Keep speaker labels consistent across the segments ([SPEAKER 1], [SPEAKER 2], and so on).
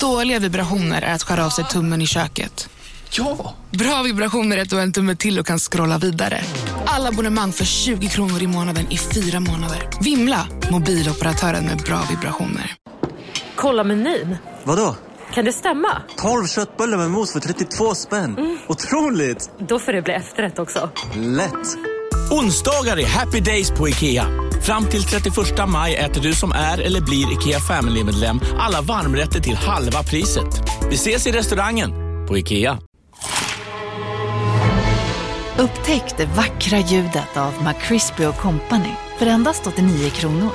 [SPEAKER 1] Dåliga vibrationer är att skära av sig tummen i köket.
[SPEAKER 2] Ja!
[SPEAKER 1] Bra vibrationer är att du har en tumme till och kan scrolla vidare. Alla abonnemang för 20 kronor i månaden i fyra månader. Vimla! Mobiloperatören med bra vibrationer.
[SPEAKER 3] Kolla menyn.
[SPEAKER 4] Vadå?
[SPEAKER 3] Kan det stämma?
[SPEAKER 4] 12 köttbullar med mos för 32 spänn. Otroligt!
[SPEAKER 3] Då får det bli efterrätt också.
[SPEAKER 4] Lätt!
[SPEAKER 5] Onsdagar är happy days på IKEA. Fram till 31 maj äter du som är eller blir IKEA Family-medlem alla varmrätter till halva priset. Vi ses i restaurangen på IKEA.
[SPEAKER 6] Upptäck det vackra ljudet av McCrispy Company för endast 89 kronor.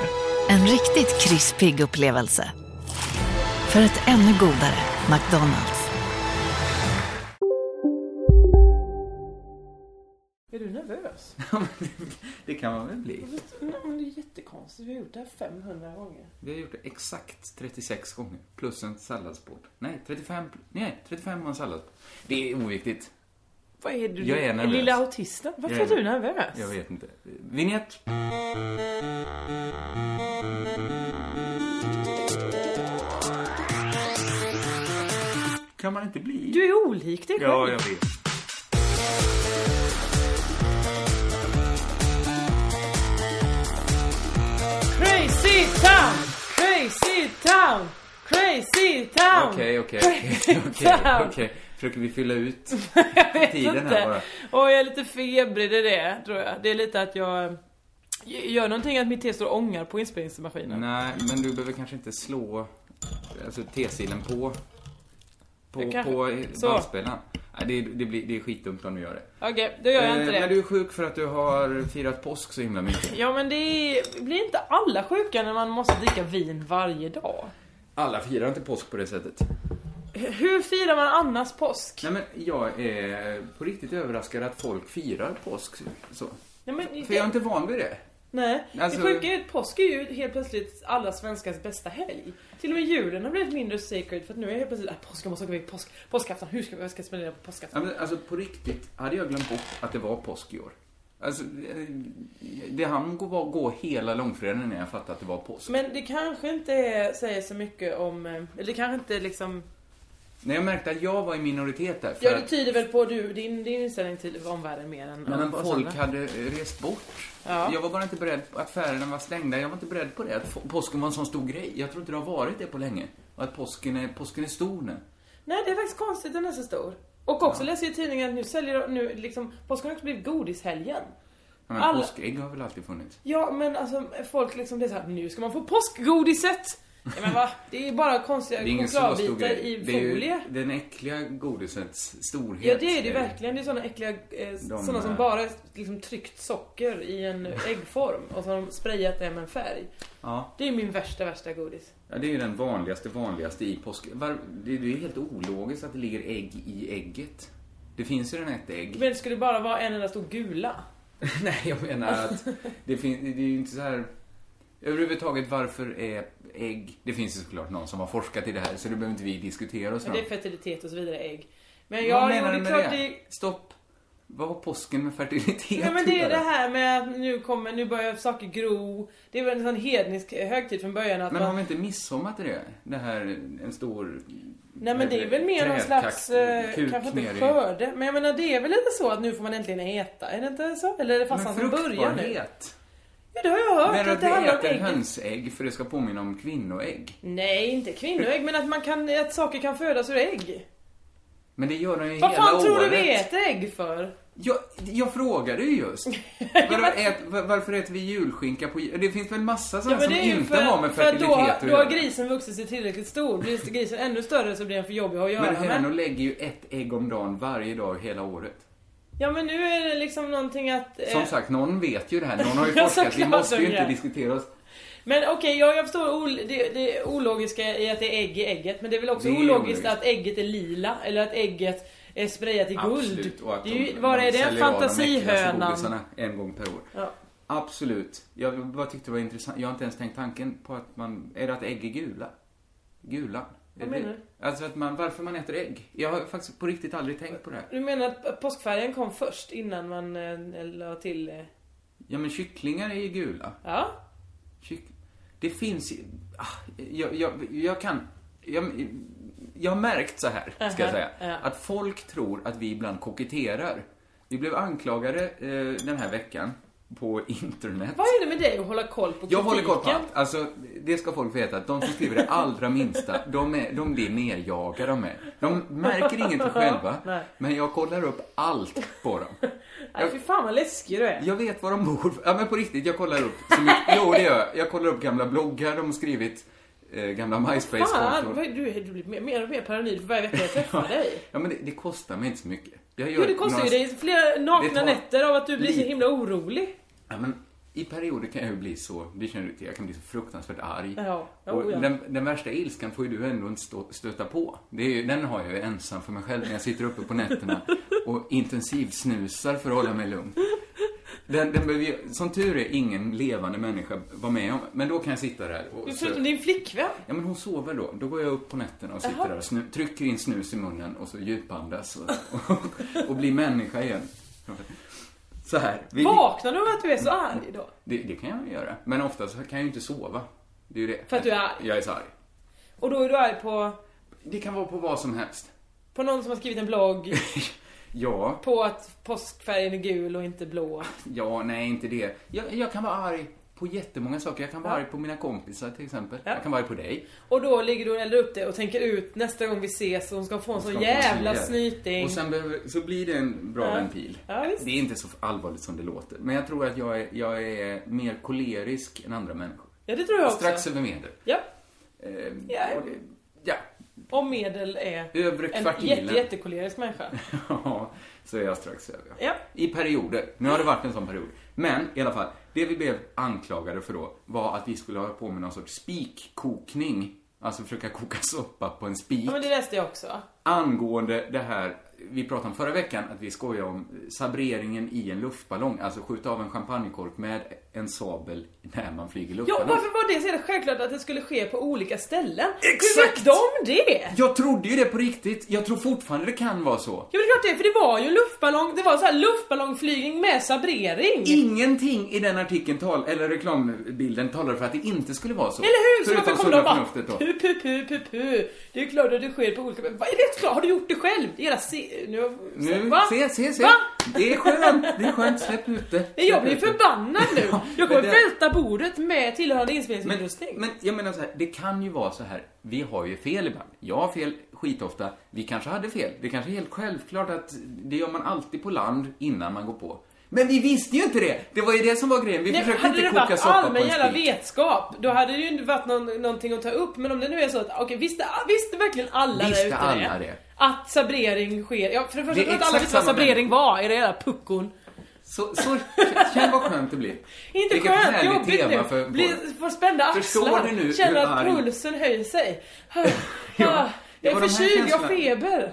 [SPEAKER 6] En riktigt krispig upplevelse. För ett ännu godare McDonalds.
[SPEAKER 7] Är du nervös?
[SPEAKER 2] Det kan man väl bli.
[SPEAKER 7] Nej, men det är jättekonstigt. Vi har gjort det här 500 gånger.
[SPEAKER 2] Vi har gjort det exakt 36 gånger. Plus en salladsbord. Nej, 35, nej, 35 och en salladsbord. Det är oviktigt.
[SPEAKER 7] Vad är du?
[SPEAKER 2] Jag är nervös.
[SPEAKER 7] Lilla autisten? Varför
[SPEAKER 2] Jag är-
[SPEAKER 7] är du nervös?
[SPEAKER 2] Jag vet inte. Vignett. Kan man inte bli?
[SPEAKER 7] Du är olik dig själv.
[SPEAKER 2] Ja, jag vet.
[SPEAKER 7] Crazy town! Crazy town! Crazy town!
[SPEAKER 2] Okej, okej, okej, okej, okej. Försöker vi fylla ut tiden här bara?
[SPEAKER 7] Och jag är lite febrig, det är det tror jag. Det är lite att jag jag gör någonting att mitt te står och ångar på inspelningsmaskinen.
[SPEAKER 2] Nej, men du behöver kanske inte slå alltså, T-silen på, på,
[SPEAKER 7] Jag kanske-
[SPEAKER 2] på
[SPEAKER 7] så.
[SPEAKER 2] bandspelaren. Nej, det, det, blir, det är skitdumt om du gör det.
[SPEAKER 7] Okej, då gör jag
[SPEAKER 2] Eh,
[SPEAKER 7] inte det.
[SPEAKER 2] Men du är sjuk för att du har firat påsk så himla mycket.
[SPEAKER 7] Ja men det är... blir inte alla sjuka när man måste dricka vin varje dag?
[SPEAKER 2] Alla firar inte påsk på det sättet.
[SPEAKER 7] Hur firar man annars påsk?
[SPEAKER 2] Nej, men jag är på riktigt överraskad att folk firar påsk så.
[SPEAKER 7] Nej, men,
[SPEAKER 2] För jag är inte van vid det.
[SPEAKER 7] Nej,
[SPEAKER 2] Alltså-
[SPEAKER 7] det sjuka är att påsk är ju helt plötsligt alla svenskars bästa helg. Till och med julen har blivit mindre sacred för att nu är jag helt plötsligt ah, påsk, jag måste åka iväg påsk, påskafton, hur ska vi- vad ska jag spendera på
[SPEAKER 2] Ja,
[SPEAKER 7] påskafton?
[SPEAKER 2] men, alltså på riktigt hade jag glömt bort att det var påsk i år. Alltså, eh, det hann gå, gå hela långfredagen när jag fattade att det var påsk.
[SPEAKER 7] Men det kanske inte är- säger så mycket om, eh, eller det kanske inte liksom,
[SPEAKER 2] När jag märkte att jag var i minoritet där. För
[SPEAKER 7] ja det typ-
[SPEAKER 2] att-
[SPEAKER 7] tyder väl på du, din, din inställning till omvärlden mer än
[SPEAKER 2] Men
[SPEAKER 7] oss
[SPEAKER 2] folk
[SPEAKER 7] andra.
[SPEAKER 2] hade rest bort.
[SPEAKER 7] Ja.
[SPEAKER 2] Jag var bara inte beredd på att affärerna var stängda. Jag var inte beredd på det. Att få- påsken var en sån stor grej. Jag tror inte det har varit det på länge. Och att påsken är, påsken är stor nu.
[SPEAKER 7] Nej det är faktiskt konstigt att den är så stor. Och också läser jag i tidningen att nu säljer de, nu liksom, påsken har också blivit godishelgen.
[SPEAKER 2] Ja, Men
[SPEAKER 7] Alla-
[SPEAKER 2] påskägg har väl alltid funnits?
[SPEAKER 7] Ja men alltså folk liksom det är såhär, nu ska man få påskgodiset! Ja, men va? Det är bara konstiga
[SPEAKER 2] Det är ingen så stor
[SPEAKER 7] chokladbitar
[SPEAKER 2] grej.
[SPEAKER 7] i
[SPEAKER 2] Det är
[SPEAKER 7] folie.
[SPEAKER 2] den äckliga godisets storhet.
[SPEAKER 7] Ja det är det ju verkligen. Det är såna äckliga, eh, såna som
[SPEAKER 2] eh,
[SPEAKER 7] bara är liksom tryckt socker i en äggform och så har de sprayat det med en färg.
[SPEAKER 2] Ja.
[SPEAKER 7] Det är min värsta, värsta godis.
[SPEAKER 2] Ja, det är ju den vanligaste, vanligaste i påsk. Var, det, det är helt ologiskt att det ligger ägg i ägget. Det finns ju redan ett ägg.
[SPEAKER 7] Men det skulle bara vara en enda stor gula.
[SPEAKER 2] Nej, jag menar att det, fin- det är ju inte så här... Överhuvudtaget, varför är ägg... Det finns ju såklart någon som har forskat i det här, så det behöver inte vi diskutera oss
[SPEAKER 7] Men
[SPEAKER 2] fram.
[SPEAKER 7] det är fertilitet och så vidare, ägg. Men
[SPEAKER 2] Vad
[SPEAKER 7] jag, jo,
[SPEAKER 2] menar
[SPEAKER 7] det
[SPEAKER 2] du
[SPEAKER 7] är
[SPEAKER 2] med
[SPEAKER 7] klart
[SPEAKER 2] det?
[SPEAKER 7] det
[SPEAKER 2] Stopp. Vad har påsken med fertilitet
[SPEAKER 7] Nej men det är
[SPEAKER 2] att
[SPEAKER 7] det
[SPEAKER 2] göra?
[SPEAKER 7] här med att nu kommer, nu börjar saker gro. Det är väl en sån hednisk högtid från början att
[SPEAKER 2] Men
[SPEAKER 7] man...
[SPEAKER 2] har vi inte midsommar till det? Det här, en stor...
[SPEAKER 7] Nej men det är väl mer någon slags, eh, kanske inte skörde, men jag menar det är väl lite så att nu får man äntligen äta, är det inte så? Eller är det fastan som börjar nu? Ja det har jag hört,
[SPEAKER 2] Men
[SPEAKER 7] att
[SPEAKER 2] att
[SPEAKER 7] det
[SPEAKER 2] du
[SPEAKER 7] handlar om
[SPEAKER 2] äter
[SPEAKER 7] ägg.
[SPEAKER 2] hönsägg för det ska påminna om kvinnoägg.
[SPEAKER 7] Nej, inte kvinnoägg, men att, man kan, att saker kan födas ur ägg.
[SPEAKER 2] Men det gör den ju
[SPEAKER 7] Vad
[SPEAKER 2] hela
[SPEAKER 7] fan
[SPEAKER 2] året.
[SPEAKER 7] tror du vi äter ägg för?
[SPEAKER 2] Jag, jag frågade ju just. Vadå, ät, va- varför äter vi julskinka på jul? Det finns väl massa sånt som
[SPEAKER 7] ju
[SPEAKER 2] inte har med
[SPEAKER 7] för att
[SPEAKER 2] fertilitet
[SPEAKER 7] då, har-
[SPEAKER 2] att
[SPEAKER 7] då
[SPEAKER 2] göra.
[SPEAKER 7] har grisen vuxit sig tillräckligt stor. Blir grisen ännu större så blir den för jobbig att ha att
[SPEAKER 2] Men
[SPEAKER 7] göra med.
[SPEAKER 2] hönor lägger ju ett ägg om dagen varje dag hela året.
[SPEAKER 7] Ja men nu är det liksom någonting att... eh,
[SPEAKER 2] Som sagt, någon vet ju det här. Någon har ju
[SPEAKER 7] Ja,
[SPEAKER 2] forskat. Vi
[SPEAKER 7] såklart
[SPEAKER 2] måste
[SPEAKER 7] de
[SPEAKER 2] ju inte
[SPEAKER 7] gör.
[SPEAKER 2] diskutera oss.
[SPEAKER 7] Men okej, ja, jag förstår ol- det, det ologiska i att det är ägg i ägget. Men det är väl också
[SPEAKER 2] Det är
[SPEAKER 7] ologiskt,
[SPEAKER 2] ologiskt.
[SPEAKER 7] att ägget är lila eller att ägget är sprayat i guld.
[SPEAKER 2] Absolut. Och att
[SPEAKER 7] det är ju,
[SPEAKER 2] de-
[SPEAKER 7] var
[SPEAKER 2] de
[SPEAKER 7] är det?
[SPEAKER 2] säljer av de äckligaste
[SPEAKER 7] Fantasihönan.
[SPEAKER 2] godisarna En gång per år.
[SPEAKER 7] Ja.
[SPEAKER 2] Absolut. Jag bara tyckte det var intressant. Jag har inte ens tänkt tanken på att man... Är det att ägg är gula? Gulan?
[SPEAKER 7] Vad
[SPEAKER 2] Är
[SPEAKER 7] menar
[SPEAKER 2] det- Alltså att man, varför man äter ägg. Jag har faktiskt på riktigt aldrig tänkt på det här.
[SPEAKER 7] Du menar att påskfärgen kom först innan man eh, la till... eh,
[SPEAKER 2] Ja men kycklingar är ju gula.
[SPEAKER 7] Ja.
[SPEAKER 2] Kyck... Det finns ju... ah, Jag, jag, jag kan... Jag, jag har märkt så här, ska jag säga,
[SPEAKER 7] ja.
[SPEAKER 2] att folk tror att vi ibland koketterar. Vi blev anklagade eh, den här veckan på internet.
[SPEAKER 7] Vad är det med dig att hålla koll på
[SPEAKER 2] Jag håller koll på
[SPEAKER 7] kritiken?
[SPEAKER 2] allt. Alltså, det ska folk veta att de som skriver det allra minsta, de, är, de blir nerjagade de är. De märker ingenting själva,
[SPEAKER 7] Nej.
[SPEAKER 2] men jag kollar upp allt på dem.
[SPEAKER 7] Nej, fy fan vad läskig du är.
[SPEAKER 2] Jag vet var de bor. Ja, men på riktigt, jag kollar upp. Så mycket, jo, det gör jag. Jag kollar upp gamla bloggar de har skrivit, eh, gamla
[SPEAKER 7] Fan, vad-
[SPEAKER 2] MySpace-konton.
[SPEAKER 7] du, du blir mer- mer och mer paranoid för varje vecka jag träffar dig.
[SPEAKER 2] Ja, men det, det kostar mig inte så mycket. Jag gör
[SPEAKER 7] Jo, det kostar ju
[SPEAKER 2] några-
[SPEAKER 7] dig flera
[SPEAKER 2] Det
[SPEAKER 7] nakna
[SPEAKER 2] tar-
[SPEAKER 7] nätter av att du blir så
[SPEAKER 2] Lite.
[SPEAKER 7] himla orolig.
[SPEAKER 2] Ja, men i perioder kan jag ju bli så, det känner du till, jag kan bli så fruktansvärt arg.
[SPEAKER 7] Ja, ja,
[SPEAKER 2] och
[SPEAKER 7] oh ja.
[SPEAKER 2] Den, den värsta ilskan får ju du ändå inte stå, stöta på. Det är ju, den har jag ju ensam för mig själv när jag sitter uppe på nätterna och intensivsnusar för att hålla mig lugn. Den, den behöver ju, som tur är ingen levande människa var med om, men då kan jag sitta där och... så-
[SPEAKER 7] Förutom din flickvän.
[SPEAKER 2] Ja, men hon sover då. Då går jag upp på nätterna och sitter där och snu, trycker in snus i munnen och så djupandas och, och, och blir människa igen. Så här. Vi-
[SPEAKER 7] Vaknar du av att du är så arg då?
[SPEAKER 2] det, det kan jag ju göra. Men ofta så kan jag ju inte sova. Det är ju det.
[SPEAKER 7] För att du är arg.
[SPEAKER 2] Jag är så arg.
[SPEAKER 7] Och då är du arg på,
[SPEAKER 2] Det kan vara på vad som helst.
[SPEAKER 7] på någon som har skrivit en blogg
[SPEAKER 2] Ja,
[SPEAKER 7] på att påskfärgen är gul och inte blå.
[SPEAKER 2] ja, nej, inte det. Jag, jag kan vara arg på jättemånga saker. Jag kan vara arg på mina kompisar till exempel.
[SPEAKER 7] Ja.
[SPEAKER 2] Jag kan vara arg på dig.
[SPEAKER 7] Och då ligger du och eldar upp det och tänker ut nästa gång vi ses och hon ska få en sån
[SPEAKER 2] Ska få en
[SPEAKER 7] jävla
[SPEAKER 2] snyting.
[SPEAKER 7] snyting.
[SPEAKER 2] Och sen behöver, så blir det en bra ventil.
[SPEAKER 7] Ja, visst.
[SPEAKER 2] det är inte så allvarligt som det låter. Men jag tror att jag är, jag är mer kolerisk än andra människor.
[SPEAKER 7] Ja, det tror jag också.
[SPEAKER 2] Strax över medel.
[SPEAKER 7] Ja.
[SPEAKER 2] Eh,
[SPEAKER 7] Ja.
[SPEAKER 2] och det- ja.
[SPEAKER 7] Och medel är
[SPEAKER 2] Övre
[SPEAKER 7] en
[SPEAKER 2] kvartilen.
[SPEAKER 7] jätte, jättekolerisk människa.
[SPEAKER 2] Ja, så är jag strax över.
[SPEAKER 7] Ja.
[SPEAKER 2] I perioder. Nu har det varit en sån period. Men i alla fall, det vi blev anklagade för då var att vi skulle hålla på med någon sorts spikkokning. Alltså försöka koka soppa på en spik.
[SPEAKER 7] Ja, men det läste jag också.
[SPEAKER 2] Angående det här vi pratade om förra veckan, att vi skojar om sabreringen i en luftballong. Alltså skjuta av en champagnekork med en sabel när man flyger
[SPEAKER 7] Ja,
[SPEAKER 2] luftballong.
[SPEAKER 7] varför var det så jävla självklart att det skulle ske på olika ställen? Hur vet
[SPEAKER 2] Exakt!
[SPEAKER 7] de det?
[SPEAKER 2] Jag trodde ju det på riktigt. Jag tror fortfarande det kan vara så.
[SPEAKER 7] Ja men det är klart det, är, för det var ju en luftballong, det var så här luftballongflygning med sabrering.
[SPEAKER 2] Ingenting i den artikeln tal, eller reklambilden talar för att det inte skulle vara så.
[SPEAKER 7] Eller hur? Så varför
[SPEAKER 2] Förutom
[SPEAKER 7] kom de
[SPEAKER 2] sunda
[SPEAKER 7] bara
[SPEAKER 2] förnuftet då.
[SPEAKER 7] pu, pu, pu, pu, pu. Det är ju klart att det sker på olika... Va, är det klart? Har du gjort det själv? Hela se... Nu...
[SPEAKER 2] Nu,
[SPEAKER 7] va?
[SPEAKER 2] se, se, se.
[SPEAKER 7] Va?
[SPEAKER 2] Det är skönt, det är skönt. Släpp ut det.
[SPEAKER 7] Nej,
[SPEAKER 2] Släpp
[SPEAKER 7] Jag blir
[SPEAKER 2] ut det.
[SPEAKER 7] förbannad nu.
[SPEAKER 2] Ja,
[SPEAKER 7] Jag kommer
[SPEAKER 2] men det-
[SPEAKER 7] välta bordet med tillhörande
[SPEAKER 2] Men,
[SPEAKER 7] inspelningsutrustning.
[SPEAKER 2] men jag menar så här, det kan ju vara så här, vi har ju fel ibland. Jag har fel skitofta, vi kanske hade fel. Det kanske är helt självklart att det gör man alltid på land innan man går på. Men vi visste ju inte det! Det var ju det som var grejen, vi
[SPEAKER 7] Nej,
[SPEAKER 2] försökte
[SPEAKER 7] hade
[SPEAKER 2] inte
[SPEAKER 7] det
[SPEAKER 2] koka
[SPEAKER 7] varit
[SPEAKER 2] soppa på en
[SPEAKER 7] allmän
[SPEAKER 2] spik.
[SPEAKER 7] jävla vetskap, då hade det ju inte varit någon, någonting att ta upp. Men om det nu är så att, okej, visste, visste verkligen alla
[SPEAKER 2] Visste
[SPEAKER 7] där ute
[SPEAKER 2] alla det?
[SPEAKER 7] Att sabrering sker. Ja, för det första
[SPEAKER 2] Det är
[SPEAKER 7] tror jag inte alla
[SPEAKER 2] exakt
[SPEAKER 7] visste vad
[SPEAKER 2] samma
[SPEAKER 7] sabrering
[SPEAKER 2] människor.
[SPEAKER 7] var, era jävla puckon.
[SPEAKER 2] Så, så, känn vad skönt det blir.
[SPEAKER 7] Inte
[SPEAKER 2] Vilket
[SPEAKER 7] skönt,
[SPEAKER 2] härligt
[SPEAKER 7] jobbigt
[SPEAKER 2] tema
[SPEAKER 7] nu.
[SPEAKER 2] för-
[SPEAKER 7] Blir, får spända
[SPEAKER 2] Förstår
[SPEAKER 7] axlar,
[SPEAKER 2] du nu
[SPEAKER 7] känner
[SPEAKER 2] hur
[SPEAKER 7] att
[SPEAKER 2] arg-
[SPEAKER 7] pulsen höjer sig.
[SPEAKER 2] Ja, det
[SPEAKER 7] jag är
[SPEAKER 2] var de här
[SPEAKER 7] förkyld, jag
[SPEAKER 2] känslorna.
[SPEAKER 7] har feber.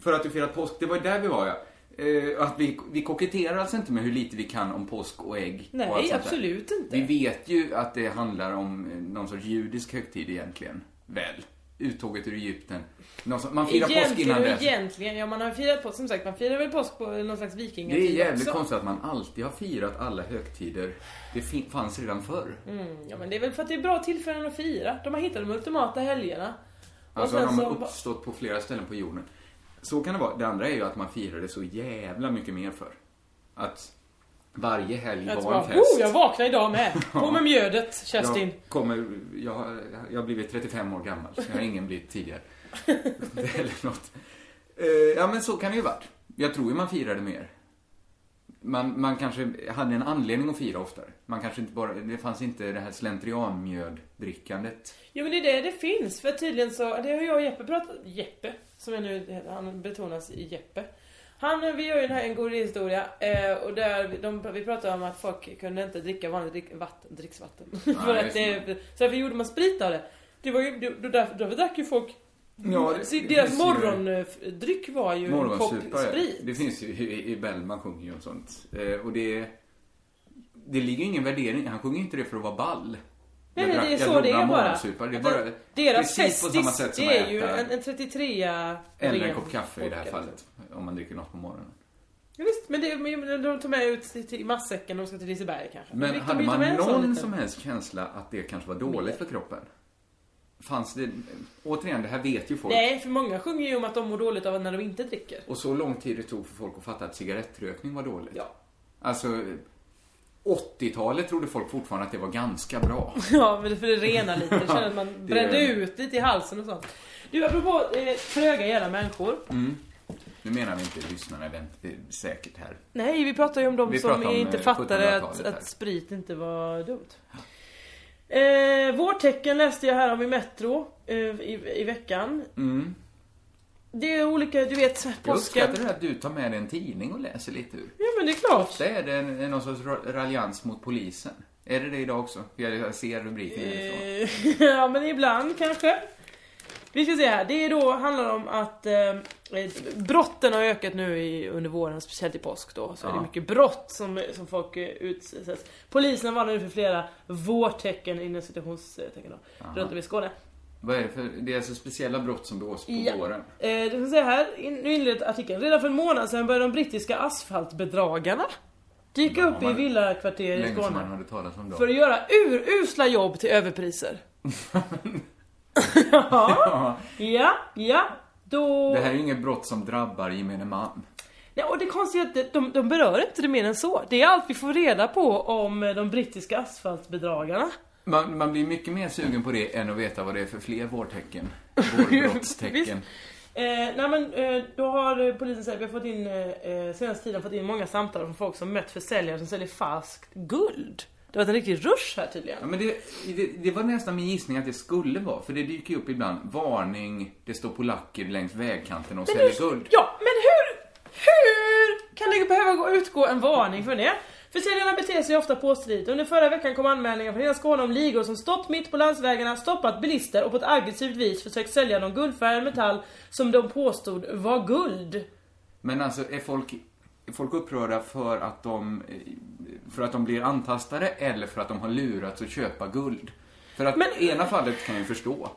[SPEAKER 2] För att du firar påsk, det var ju där vi var ja. Eh, att vi, vi koketterar alltså inte med hur lite vi kan om påsk och ägg. och allt
[SPEAKER 7] Nej,
[SPEAKER 2] sånt där.
[SPEAKER 7] absolut inte.
[SPEAKER 2] Vi vet ju att det handlar om eh, någon sorts judisk högtid egentligen. Väl? Uttåget ur Egypten. Någon som, man firar påsk
[SPEAKER 7] Egentligen
[SPEAKER 2] innan
[SPEAKER 7] och
[SPEAKER 2] dess.
[SPEAKER 7] egentligen, ja man har firat påsk, som sagt man firar väl påsk på någon slags
[SPEAKER 2] Det är
[SPEAKER 7] vikingatid
[SPEAKER 2] jävligt
[SPEAKER 7] också.
[SPEAKER 2] konstigt att man alltid har firat alla högtider. Det fin- fanns redan förr.
[SPEAKER 7] Ja men det är väl för att det är bra tillfällen att fira. De har hittat de ultimata helgerna. Och
[SPEAKER 2] Alltså
[SPEAKER 7] sen
[SPEAKER 2] de har
[SPEAKER 7] så-
[SPEAKER 2] uppstått på flera ställen på jorden. Så kan det vara. Det andra är ju att man firade så jävla mycket mer förr. Att varje helg
[SPEAKER 7] Jag
[SPEAKER 2] var en
[SPEAKER 7] bara,
[SPEAKER 2] fest.
[SPEAKER 7] oh, jag vaknar idag med. På med mjödet, Kerstin.
[SPEAKER 2] Jag kommer, jag, har- jag har blivit 35 år gammal. Jag har ingen blivit tidigare. Eller något. Eh, Ja, men så kan det ju varit. Jag tror ju man firade mer. Man, man kanske hade en anledning att fira oftare. Man kanske inte bara, det fanns inte det här slentrianmjöddrickandet.
[SPEAKER 7] Jo men det är det det finns, för tydligen så, det har jag och Jeppe pratat Jeppe, som jag nu heter, han betonas i Jeppe. Han, vi gör ju den här en god historia eh, och där vi- de, vi pratade om att folk kunde inte dricka vanligt drick, vatten, dricksvatten. för att
[SPEAKER 2] just
[SPEAKER 7] det, så därför gjorde man sprit av det. Det var ju, då, därför, då drack ju folk,
[SPEAKER 2] Ja, det-
[SPEAKER 7] så
[SPEAKER 2] det
[SPEAKER 7] deras
[SPEAKER 2] finns ju-
[SPEAKER 7] morgondryck var ju en kopp
[SPEAKER 2] Morgonsupare.
[SPEAKER 7] sprit.
[SPEAKER 2] Det finns ju i, i Bellman sjunger ju om sånt. Eh, Och det, det ligger ju ingen värdering. Han sjunger ju inte det för att vara ball.
[SPEAKER 7] Nej,
[SPEAKER 2] Jag
[SPEAKER 7] nej,
[SPEAKER 2] drack-
[SPEAKER 7] det är
[SPEAKER 2] jag
[SPEAKER 7] så det
[SPEAKER 2] gjorde
[SPEAKER 7] är bara.
[SPEAKER 2] morgonsupare. Det är
[SPEAKER 7] Att
[SPEAKER 2] bara
[SPEAKER 7] den- Deras
[SPEAKER 2] precis på samma
[SPEAKER 7] festis,
[SPEAKER 2] sätt som
[SPEAKER 7] det
[SPEAKER 2] att
[SPEAKER 7] är ju
[SPEAKER 2] äta-
[SPEAKER 7] en, en 33
[SPEAKER 2] Eller en
[SPEAKER 7] ren liksom.
[SPEAKER 2] kopp kaffe i det här
[SPEAKER 7] vodka,
[SPEAKER 2] fallet. Om man dricker något på morgonen.
[SPEAKER 7] Ja, visst, men, det, men de tar med ut till, till matsäcken när de ska till Liseberg kanske.
[SPEAKER 2] Men
[SPEAKER 7] Fick de
[SPEAKER 2] hade
[SPEAKER 7] ju ta med
[SPEAKER 2] man
[SPEAKER 7] en sån
[SPEAKER 2] någon
[SPEAKER 7] liten?
[SPEAKER 2] som helst känsla att det kanske var dåligt för kroppen? fanns det... Återigen, det här vet ju folk.
[SPEAKER 7] Nej, för många sjunger ju om att de mår dåligt av när de inte dricker.
[SPEAKER 2] Och så lång tid det tog för folk att fatta att cigarettrökning var dåligt.
[SPEAKER 7] Ja.
[SPEAKER 2] Alltså, 80-talet trodde folk fortfarande att det var ganska bra.
[SPEAKER 7] Ja, men det- för det renar lite. Jag känner att man
[SPEAKER 2] Det
[SPEAKER 7] brände
[SPEAKER 2] gör det.
[SPEAKER 7] ut lite i halsen och sånt. Du, apropå eh, tröga jävla människor.
[SPEAKER 2] Mm. Nu menar vi inte lyssnarna vänt- eh, säkert här.
[SPEAKER 7] Nej, vi pratar ju om de
[SPEAKER 2] Vi
[SPEAKER 7] som
[SPEAKER 2] pratar om,
[SPEAKER 7] inte
[SPEAKER 2] eh,
[SPEAKER 7] fattade
[SPEAKER 2] 1700-talet
[SPEAKER 7] att,
[SPEAKER 2] här.
[SPEAKER 7] att sprit inte var dumt. Eh, vårtecken läste jag här om i Metro eh, i, i veckan.
[SPEAKER 2] Mm.
[SPEAKER 7] Det är olika, du vet,
[SPEAKER 2] Jag
[SPEAKER 7] påsken.
[SPEAKER 2] uppskattar att du tar med dig en tidning och läser lite ur.
[SPEAKER 7] Ja, men det är klart.
[SPEAKER 2] Ofta är det en, en någon sorts ra- raljans mot polisen. Är det det idag också? För Jag ser rubriker inifrån.
[SPEAKER 7] Eh, ja, men ibland kanske. Vi ska se här. Det är då, handlar om att eh, brotten har ökat nu i, under våren, speciellt i påsk då. Så är det
[SPEAKER 2] Ja.
[SPEAKER 7] mycket brott som, som folk eh, utsätts. Polisen varnar nu för flera vårtecken inom citationstecken då. Runt om i Skåne.
[SPEAKER 2] Vad är det för... Det är alltså speciella brott som begås på
[SPEAKER 7] Ja.
[SPEAKER 2] våren.
[SPEAKER 7] Eh, du får se här, in, nu inleds artikeln. Redan för en månad sedan började de brittiska asfaltbedragarna dyka
[SPEAKER 2] Ja,
[SPEAKER 7] upp i
[SPEAKER 2] man-
[SPEAKER 7] villakvarter i
[SPEAKER 2] Länge som man
[SPEAKER 7] Skåne.
[SPEAKER 2] hade talat om då.
[SPEAKER 7] För att göra urusla jobb till överpriser. ja, ja, ja. Då...
[SPEAKER 2] Det här är ju inget brott som drabbar gemene man.
[SPEAKER 7] Nej, och det konstiga är att de- de, de berör inte det mer än så. Det är allt vi får reda på om eh, de brittiska asfaltbedragarna.
[SPEAKER 2] Man, man blir mycket mer sugen på det än att veta vad det är för fler vårtecken. Vårbrottstecken.
[SPEAKER 7] Visst. Eh, nej men eh, då har eh, polisen sagt, vi har fått in, eh, eh, senaste tiden fått in många samtal från folk som mött försäljare som säljer falskt guld. Det har varit en riktig rush här
[SPEAKER 2] Ja,
[SPEAKER 7] tydligen.
[SPEAKER 2] men det, det, det var nästan min gissning att det skulle vara, för det dyker ju upp ibland. Varning, det står polacker längs vägkanten och säljer guld.
[SPEAKER 7] Ja, men hur, hur kan det behöva gå- utgå en varning för det? Försäljarna beter sig ofta påstridigt. Under förra veckan kom anmälningar från hela Skåne om ligor som stått mitt på landsvägarna, stoppat bilister och på ett aggressivt vis försökt sälja någon guldfärgad metall som de påstod var guld.
[SPEAKER 2] Men alltså, är folk, är folk upprörda för att, de, eh, för att de blir antastade eller för att de har lurats att köpa guld? För att
[SPEAKER 7] Men- Mm.
[SPEAKER 2] ena fallet kan jag ju förstå.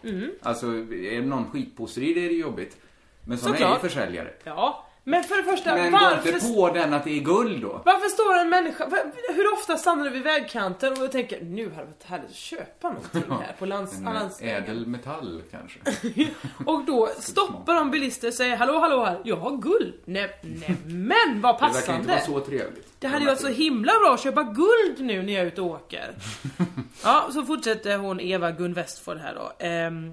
[SPEAKER 2] Alltså, är någon skitpåsteri, det är det jobbigt. Men såna är ju
[SPEAKER 7] Såklart.
[SPEAKER 2] försäljare.
[SPEAKER 7] Ja, men för det första,
[SPEAKER 2] Men gå
[SPEAKER 7] varför...
[SPEAKER 2] inte på den att det är guld då.
[SPEAKER 7] Varför står en människa, var- hur ofta stannar du vid vägkanten och tänker nu hade det varit härligt att köpa någonting här på lands,
[SPEAKER 2] En
[SPEAKER 7] landsvägen.
[SPEAKER 2] ädel metall kanske.
[SPEAKER 7] Och då stoppar de bilister och säger hallå hallå här, jag har guld. Nej, nej men vad
[SPEAKER 2] Det verkar inte
[SPEAKER 7] passande.
[SPEAKER 2] vara så trevligt.
[SPEAKER 7] Det hade ju varit så himla bra att köpa guld nu när jag är ute och åker. Ja, så fortsätter hon Eva Gun Westford här då. Ehm,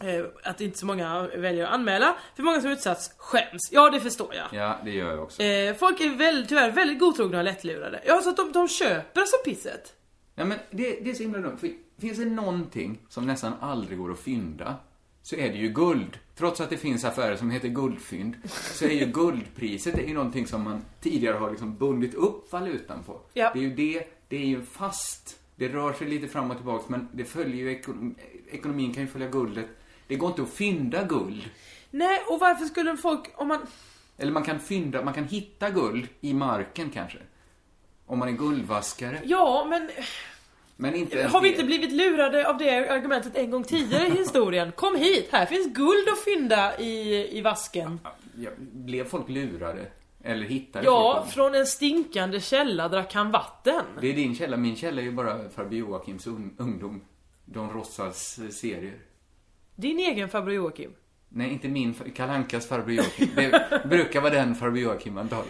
[SPEAKER 7] eh, att inte så många väljer att anmäla. För många som utsatts skäms. Ja, det förstår jag.
[SPEAKER 2] Ja, det gör jag också.
[SPEAKER 7] Eh, folk är väl, tyvärr väldigt godtrogna och lättlurade. Ja, så att de, de köper alltså pisset.
[SPEAKER 2] Ja, men det, det är så himla dumt. För finns det någonting som nästan aldrig går att fynda så är det ju guld. Trots att det finns affärer som heter guldfynd så är ju guldpriset det är ju någonting som man tidigare har liksom bundit upp valutan på.
[SPEAKER 7] Ja.
[SPEAKER 2] Det är ju det, det är ju fast. Det rör sig lite fram och tillbaka men det följer ju ekonom, ekonomin kan ju följa guldet. Det går inte att fynda guld.
[SPEAKER 7] Nej, och varför skulle folk, om man...
[SPEAKER 2] Eller man kan fynda, man kan hitta guld i marken kanske. Om man är guldvaskare.
[SPEAKER 7] Ja, men
[SPEAKER 2] Men inte ens
[SPEAKER 7] har vi
[SPEAKER 2] det.
[SPEAKER 7] inte blivit lurade av det argumentet en gång tidigare i historien? Kom hit, här finns guld att fynda i, i vasken.
[SPEAKER 2] Ja, blev folk lurade? Eller hittade
[SPEAKER 7] Ja,
[SPEAKER 2] folk dem?
[SPEAKER 7] från en stinkande källa drack han vatten.
[SPEAKER 2] Det är din källa. Min källa är ju bara farbror Joakims un- ungdom. Don Rossas eh, serier.
[SPEAKER 7] Din egen farbror Joakim.
[SPEAKER 2] Nej, inte min. far- Kalle Ankas farbror Joakim. Det brukar vara den farbror Joakim man talar.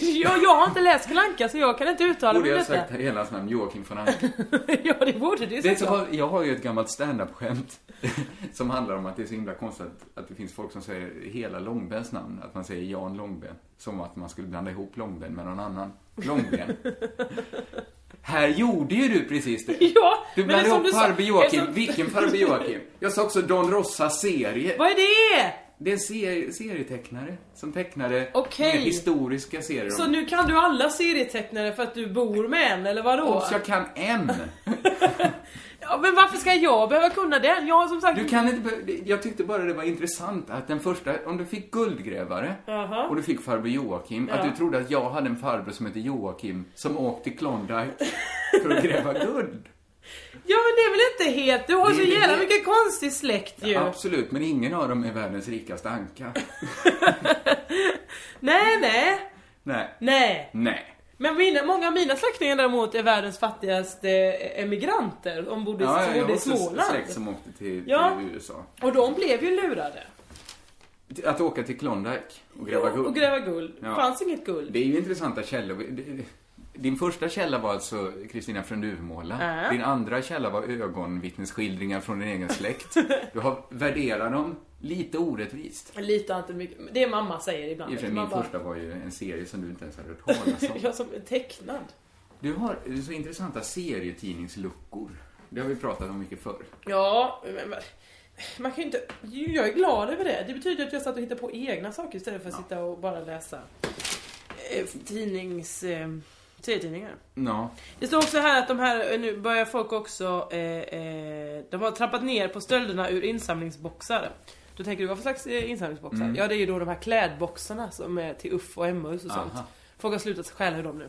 [SPEAKER 7] Jag, jag har inte läst Kalle Anka så jag kan inte uttala
[SPEAKER 2] Borde
[SPEAKER 7] mig om
[SPEAKER 2] jag ha
[SPEAKER 7] detta.
[SPEAKER 2] sagt hela hans namn, Joakim von Anka.
[SPEAKER 7] Ja, det borde du
[SPEAKER 2] Det är
[SPEAKER 7] såklart.
[SPEAKER 2] så, jag har ju ett gammalt standup-skämt som handlar om att det är så himla konstigt att- att det finns folk som säger hela Långbens namn, att man säger Jan Långben, som att man skulle blanda ihop Långben med någon annan. Långben. Här gjorde ju du precis det.
[SPEAKER 7] Ja,
[SPEAKER 2] du
[SPEAKER 7] men
[SPEAKER 2] blandade
[SPEAKER 7] som
[SPEAKER 2] ihop
[SPEAKER 7] du sa-
[SPEAKER 2] Farbror Joakim.
[SPEAKER 7] eftersom-
[SPEAKER 2] Vilken Farbror Joakim? Jag sa också Don Rossas serie.
[SPEAKER 7] Vad är det?
[SPEAKER 2] Det är en seri- serietecknare som tecknade
[SPEAKER 7] Okej.
[SPEAKER 2] mer historiska serier.
[SPEAKER 7] Så
[SPEAKER 2] om-
[SPEAKER 7] nu kan du alla serietecknare för att du bor med en, eller vadå?
[SPEAKER 2] Och jag kan en!
[SPEAKER 7] Ja, men varför ska jag behöva kunna den? Jag har som sagt...
[SPEAKER 2] Du kan inte, be- jag tyckte bara det var intressant att den första, om du fick guldgrävare
[SPEAKER 7] Jaha.
[SPEAKER 2] och du fick farbror Joakim, att du trodde att jag hade en farbror som hette Joakim som åkte till Klondike för att gräva guld.
[SPEAKER 7] Ja men det är väl inte helt... Du har
[SPEAKER 2] Det
[SPEAKER 7] så
[SPEAKER 2] är det
[SPEAKER 7] jävla
[SPEAKER 2] helt-
[SPEAKER 7] mycket konstig släkt ju.
[SPEAKER 2] Absolut, men ingen av dem är världens rikaste anka.
[SPEAKER 7] Nej, nej.
[SPEAKER 2] Nej.
[SPEAKER 7] Nej.
[SPEAKER 2] Nej.
[SPEAKER 7] Men mina, många av mina släktingar däremot är världens fattigaste eh, emigranter. De bodde,
[SPEAKER 2] Ja,
[SPEAKER 7] som
[SPEAKER 2] jag
[SPEAKER 7] bodde
[SPEAKER 2] har
[SPEAKER 7] i
[SPEAKER 2] också
[SPEAKER 7] Småland.
[SPEAKER 2] släkt som åkte till,
[SPEAKER 7] Ja.
[SPEAKER 2] till USA.
[SPEAKER 7] Och de blev ju lurade.
[SPEAKER 2] Att åka till Klondike och gräva guld.
[SPEAKER 7] Och gräva guld.
[SPEAKER 2] Ja.
[SPEAKER 7] fanns inget guld.
[SPEAKER 2] Det är ju intressanta källor. Din första källa var alltså Kristina från Duvemåla.
[SPEAKER 7] Ja.
[SPEAKER 2] Din andra källa var ögonvittnesskildringar från din egen släkt. Du har värderat dem lite orättvist.
[SPEAKER 7] Jag litar inte mycket. Det mamma säger ibland.
[SPEAKER 2] I och för sig,
[SPEAKER 7] Man
[SPEAKER 2] min
[SPEAKER 7] bara,
[SPEAKER 2] första alltså. var ju en serie som du inte ens hade hört talas om.
[SPEAKER 7] Jag som är tecknad.
[SPEAKER 2] Du har så intressanta serietidningsluckor. Det har vi pratat om mycket förr.
[SPEAKER 7] Ja, men, men man kan ju inte... Jag är glad över det. Det betyder att jag satt och hittade på egna saker istället för att sitta och bara läsa eh, tidnings... Eh, serietidningar.
[SPEAKER 2] Ja.
[SPEAKER 7] Det står också här att de här, nu börjar folk också, eh, eh, de har trappat ner på stölderna ur insamlingsboxar. Då tänker du, vad för slags eh, insamlingsboxar?
[SPEAKER 2] Mm.
[SPEAKER 7] Ja, det är ju då de här klädboxarna som är till UFF och MHUS och sånt.
[SPEAKER 2] Aha.
[SPEAKER 7] Folk har slutat stjäla ur dem nu.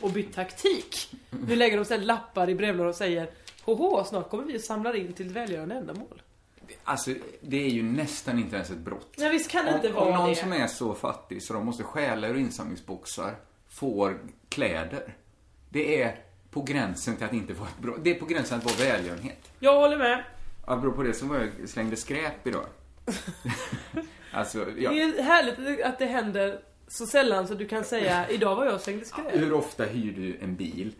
[SPEAKER 7] Och bytt taktik. Nu lägger de sig lappar i brevlådor och säger, hoho, snart kommer vi och samlar in till ett välgörande ändamål.
[SPEAKER 2] Alltså, det är ju nästan inte ens ett brott.
[SPEAKER 7] Nej, visst kan det inte
[SPEAKER 2] om, om
[SPEAKER 7] vara
[SPEAKER 2] någon
[SPEAKER 7] det.
[SPEAKER 2] som är så fattig så de måste stjäla ur insamlingsboxar får kläder. Det är på gränsen till att inte vara ett brott. Det är på gränsen att vara välgörenhet.
[SPEAKER 7] Jag håller med.
[SPEAKER 2] Apropå det så var jag slängde skräp idag. alltså,
[SPEAKER 7] Det
[SPEAKER 2] ja.
[SPEAKER 7] är härligt att det händer så sällan så du kan säga, idag var jag och slängde skräp.
[SPEAKER 2] Hur ofta hyr du en bil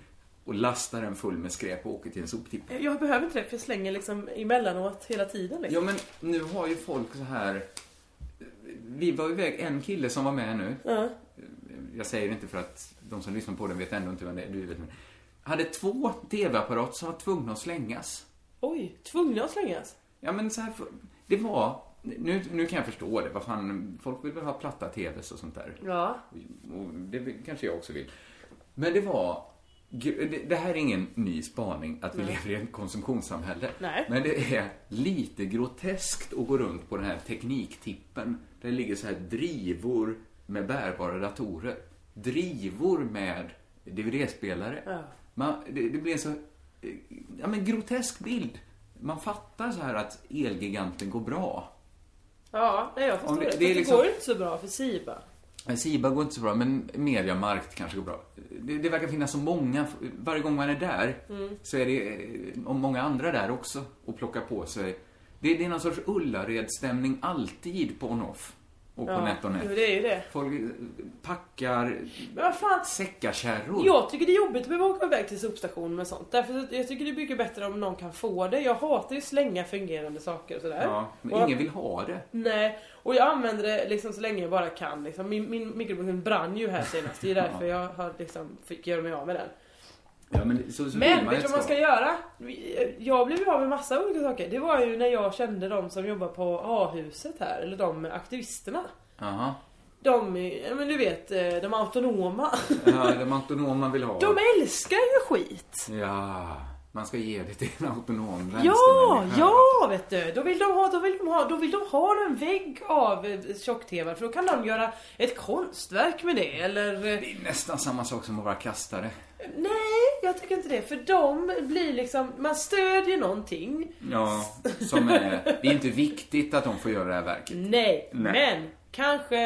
[SPEAKER 2] och lastar den full med skräp och åker till en soptipp?
[SPEAKER 7] Jag behöver inte det för jag slänger liksom emellanåt hela tiden. Liksom.
[SPEAKER 2] Ja, men nu har ju folk så här... Vi var iväg, en kille som var med nu. Jag säger inte för att de som lyssnar på den vet ändå inte vem det är, du vet. Men, hade två TV-apparater som var tvungna att slängas.
[SPEAKER 7] Oj, tvungna att slängas?
[SPEAKER 2] Ja, men så här, det var... Nu, nu kan jag förstå det, vad fan, folk vill väl ha platta TVs och sånt där.
[SPEAKER 7] Ja.
[SPEAKER 2] Och det kanske jag också vill. Men det var... gr- det- Det här är ingen ny spaning att vi lever i ett konsumtionssamhälle.
[SPEAKER 7] Nej.
[SPEAKER 2] Men det är lite groteskt att gå runt på den här tekniktippen. Där det ligger så här drivor med bärbara datorer. Drivor med DVD-spelare.
[SPEAKER 7] Ja.
[SPEAKER 2] Man, det, det blir en så... eh, Ja, men grotesk bild. Man fattar så här att elgiganten går bra.
[SPEAKER 7] Ja, nej, jag förstår
[SPEAKER 2] Om det-
[SPEAKER 7] det.
[SPEAKER 2] det
[SPEAKER 7] Det,
[SPEAKER 2] är
[SPEAKER 7] det
[SPEAKER 2] liksom-
[SPEAKER 7] går ju inte så bra för Siba.
[SPEAKER 2] Men Siba går inte så bra, men Mediamarkt kanske går bra. Det, det verkar finnas så många, varje gång man är där
[SPEAKER 7] Mm.
[SPEAKER 2] så är det eh, och många andra där också och plockar på sig. Det, det är någon sorts Ullared-stämning alltid på on-off och på
[SPEAKER 7] Ja.
[SPEAKER 2] net och
[SPEAKER 7] Jo,
[SPEAKER 2] net.
[SPEAKER 7] det är ju det.
[SPEAKER 2] Folk eh, packar
[SPEAKER 7] Men vad fan.
[SPEAKER 2] säckakärror.
[SPEAKER 7] Jag tycker det är jobbigt att behöva åka iväg till sopstationen med sånt. Därför så- jag tycker det är mycket bättre om någon kan få det. Jag hatar ju slänga fungerande saker och sådär.
[SPEAKER 2] Ja, men
[SPEAKER 7] och jag-
[SPEAKER 2] ingen vill ha det.
[SPEAKER 7] Nej, och jag använder det liksom så länge jag bara kan. Liksom. Min, min mikrofonen brann ju här senast. Det är därför jag har liksom fick göra mig av med den.
[SPEAKER 2] Ja, men så, så vill man
[SPEAKER 7] Men vet du
[SPEAKER 2] ett
[SPEAKER 7] vad man
[SPEAKER 2] svar.
[SPEAKER 7] ska göra? Jag blev ju av med massa olika saker. Det var ju när jag kände de som jobbar på A-huset här, eller de aktivisterna.
[SPEAKER 2] Jaha.
[SPEAKER 7] De, är- ja, men du vet, eh, de autonoma.
[SPEAKER 2] Ja, de autonoma vill ha
[SPEAKER 7] De
[SPEAKER 2] det.
[SPEAKER 7] älskar ju skit.
[SPEAKER 2] Ja, man ska ge det till en autonom
[SPEAKER 7] Ja,
[SPEAKER 2] vänstermänniska.
[SPEAKER 7] ja vet du. Då vill de ha, då vill de ha, då vill de ha en vägg av eh, tjock-tv. För då kan de göra ett konstverk med det. Eller... eh,
[SPEAKER 2] Det är nästan samma sak som att vara kastare.
[SPEAKER 7] Nej, jag tycker inte det. För de blir liksom, man stödjer någonting.
[SPEAKER 2] Ja, som är, det är inte viktigt att de får göra det här verket.
[SPEAKER 7] Nej,
[SPEAKER 2] Nej.
[SPEAKER 7] men kanske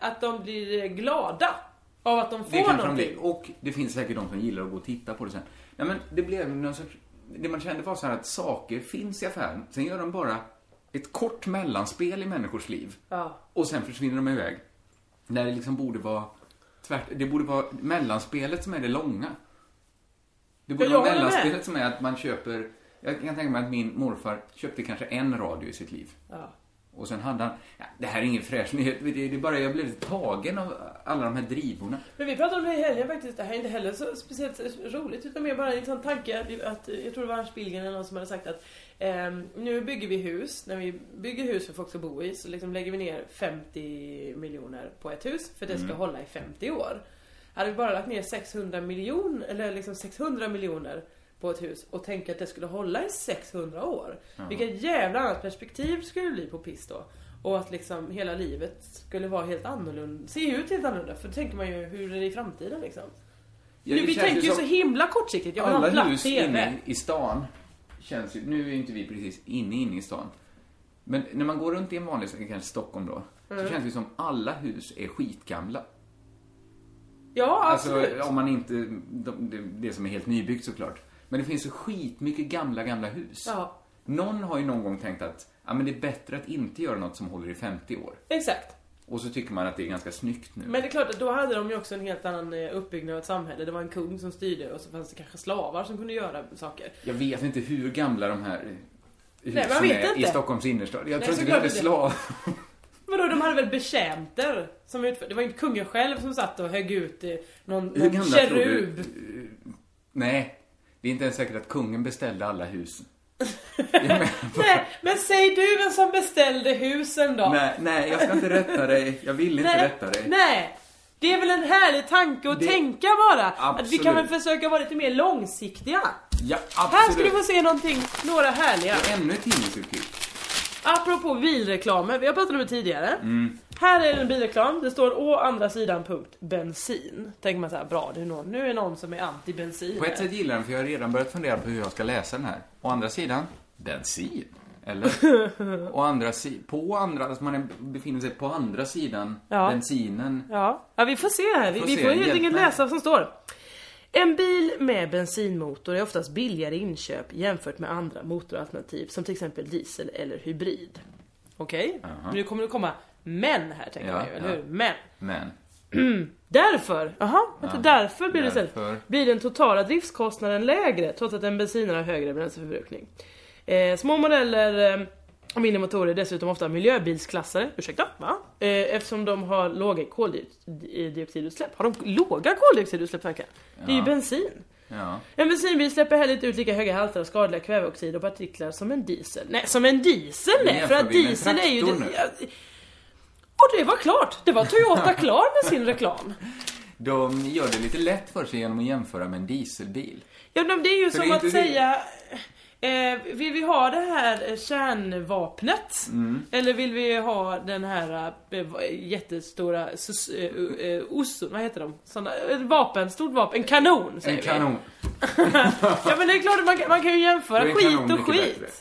[SPEAKER 7] att de blir glada av att de
[SPEAKER 2] Det
[SPEAKER 7] får
[SPEAKER 2] kanske de
[SPEAKER 7] någonting.
[SPEAKER 2] blir. Och det finns säkert de som gillar att gå och titta på det sen. Nej, men det blev någon sorts... Det man kände var så här att saker finns i affären, sen gör de bara ett kort mellanspel i människors liv.
[SPEAKER 7] Ja.
[SPEAKER 2] Och sen försvinner de iväg. När det liksom borde vara tvärt... Det borde vara mellanspelet som är det långa. Det borde
[SPEAKER 7] Ja, jag
[SPEAKER 2] vara
[SPEAKER 7] håller med.
[SPEAKER 2] mellanspelet som är att man köper... Jag kan tänka mig att min morfar köpte kanske en radio i sitt liv.
[SPEAKER 7] Ja.
[SPEAKER 2] Och sen hade han, ja, det här är ingen fräsch nyhet, det det är bara jag blev tagen av alla de här drivorna.
[SPEAKER 7] Men vi pratade om det i helgen faktiskt. Det här är inte heller så speciellt roligt utan mer bara en sån tanke. Att, att, eh, jag tror det var Ernst Billgren eller någon som hade sagt att ehm, nu bygger vi hus. När vi bygger hus för folk ska bo i så liksom lägger vi ner 50 miljoner på ett hus för det ska
[SPEAKER 2] Mm.
[SPEAKER 7] hålla i 50 år. Hade vi bara lagt ner 600 miljoner eller liksom 600 miljoner på ett hus och tänka att det skulle hålla i 600 år. Vilket jävla annat perspektiv skulle det bli på piss då. Och att liksom hela livet skulle vara helt annorlunda, se ut helt annorlunda. För då tänker man ju, hur är det i framtiden liksom?
[SPEAKER 2] Ja,
[SPEAKER 7] nu,
[SPEAKER 2] det
[SPEAKER 7] vi
[SPEAKER 2] känns
[SPEAKER 7] tänker ju
[SPEAKER 2] som
[SPEAKER 7] så himla kortsiktigt, jag vill ha
[SPEAKER 2] Alla
[SPEAKER 7] en platt
[SPEAKER 2] hus
[SPEAKER 7] TV.
[SPEAKER 2] inne i stan känns ju, nu är inte vi precis inne inne i stan. Men när man går runt i en
[SPEAKER 7] Mm.
[SPEAKER 2] vanlig, kanske Stockholm då, så känns det som alla hus är skitgamla.
[SPEAKER 7] Ja, absolut.
[SPEAKER 2] Alltså, om man inte, de, det, det som är helt nybyggt såklart. Men det finns ju skitmycket gamla, gamla hus.
[SPEAKER 7] Ja.
[SPEAKER 2] Någon har ju någon gång tänkt att ja, men det är bättre att inte göra något som håller i 50 år.
[SPEAKER 7] Exakt.
[SPEAKER 2] Och så tycker man att det är ganska snyggt nu.
[SPEAKER 7] Men det är klart att då hade de ju också en helt annan eh, uppbyggnad av ett samhälle. Det var en kung som styrde och så fanns det kanske slavar som kunde göra saker.
[SPEAKER 2] Jag vet inte hur gamla de här husen
[SPEAKER 7] man vet
[SPEAKER 2] är
[SPEAKER 7] inte.
[SPEAKER 2] i Stockholms innerstad. Jag
[SPEAKER 7] Nej,
[SPEAKER 2] tror inte vi
[SPEAKER 7] såklart
[SPEAKER 2] hade
[SPEAKER 7] inte.
[SPEAKER 2] slav.
[SPEAKER 7] Vadå, de hade väl betjänter? Som utför... Det var ju inte kungen själv som satt och högg ut eh, någon,
[SPEAKER 2] Hur
[SPEAKER 7] någon
[SPEAKER 2] gamla tror du?
[SPEAKER 7] kerub.
[SPEAKER 2] eh, Nej, det är inte ens säkert att kungen beställde alla hus. Jag menar bara-
[SPEAKER 7] Nej, men säg du vem som beställde husen då?
[SPEAKER 2] nej, nej, jag ska inte rätta dig. Jag vill inte
[SPEAKER 7] Nej,
[SPEAKER 2] rätta dig.
[SPEAKER 7] nej. Det är väl en härlig tanke att
[SPEAKER 2] Det-
[SPEAKER 7] tänka bara. Att vi
[SPEAKER 2] Absolut.
[SPEAKER 7] kan väl försöka vara lite mer långsiktiga.
[SPEAKER 2] Ja,
[SPEAKER 7] Här ska du
[SPEAKER 2] absolut.
[SPEAKER 7] få se någonting, några härliga.
[SPEAKER 2] Ännu ett tidningsurklipp.
[SPEAKER 7] Apropå bilreklamer, vi har pratat om det tidigare.
[SPEAKER 2] Mm.
[SPEAKER 7] Här är en bilreklam, det står å andra sidan punkt bensin. Tänker man så här, bra det är någon, nu är någon som är anti bensin.
[SPEAKER 2] På ett sätt gillar jag den för jag har redan börjat fundera på hur jag ska läsa den här. Å andra sidan, bensin. Eller? Å andra si- på andra, alltså man är, befinner sig på andra sidan
[SPEAKER 7] Ja.
[SPEAKER 2] bensinen.
[SPEAKER 7] Ja. ja, vi får se här. Vi
[SPEAKER 2] Får
[SPEAKER 7] får, vi
[SPEAKER 2] se,
[SPEAKER 7] får helt
[SPEAKER 2] hjälp
[SPEAKER 7] enkelt
[SPEAKER 2] mig.
[SPEAKER 7] läsa vad som står. En bil med bensinmotor är oftast billigare i inköp jämfört med andra motoralternativ som till exempel diesel eller hybrid. Okej, nu kommer det komma men här tänker
[SPEAKER 2] Ja,
[SPEAKER 7] man ju, eller
[SPEAKER 2] ja.
[SPEAKER 7] hur? Men.
[SPEAKER 2] Men,
[SPEAKER 7] Därför, jaha, vänta, därför blir det
[SPEAKER 2] Därför.
[SPEAKER 7] istället, blir den totala driftskostnaden lägre trots att en bensinare har högre bränsleförbrukning. Eh, små modeller eh, och mindre motorer är dessutom ofta miljöbilsklassare, ursäkta, va? Eh, eftersom de har låga koldioxidutsläpp. Har de låga koldioxidutsläpp verkligen? Det är ju bensin.
[SPEAKER 2] ja.
[SPEAKER 7] En bensinbil släpper heller inte ut lika höga halter av skadliga kväveoxider och partiklar som en diesel. Nej, som en diesel
[SPEAKER 2] Nu
[SPEAKER 7] nej! För
[SPEAKER 2] jämför
[SPEAKER 7] att
[SPEAKER 2] vi med en
[SPEAKER 7] diesel är ju...
[SPEAKER 2] traktor nu.
[SPEAKER 7] Ja, Och det var klart! Det var Toyota klar med sin reklam.
[SPEAKER 2] De gör det lite lätt för sig genom att jämföra med en dieselbil.
[SPEAKER 7] Ja, men det är ju
[SPEAKER 2] För
[SPEAKER 7] som
[SPEAKER 2] det är
[SPEAKER 7] att
[SPEAKER 2] inte vi.
[SPEAKER 7] säga... Eh, vill vi ha det här eh, kärnvapnet?
[SPEAKER 2] Mm.
[SPEAKER 7] Eller vill vi ha den här eh, va- jättestora sus, eh, eh, osso, vad heter de? Såna, ett vapen, stort vapen, en kanon säger
[SPEAKER 2] En kanon.
[SPEAKER 7] vi. Ja men det är klart, man, kan- man kan ju jämföra
[SPEAKER 2] Då är en
[SPEAKER 7] skit
[SPEAKER 2] kanon
[SPEAKER 7] och
[SPEAKER 2] mycket
[SPEAKER 7] skit.
[SPEAKER 2] bättre.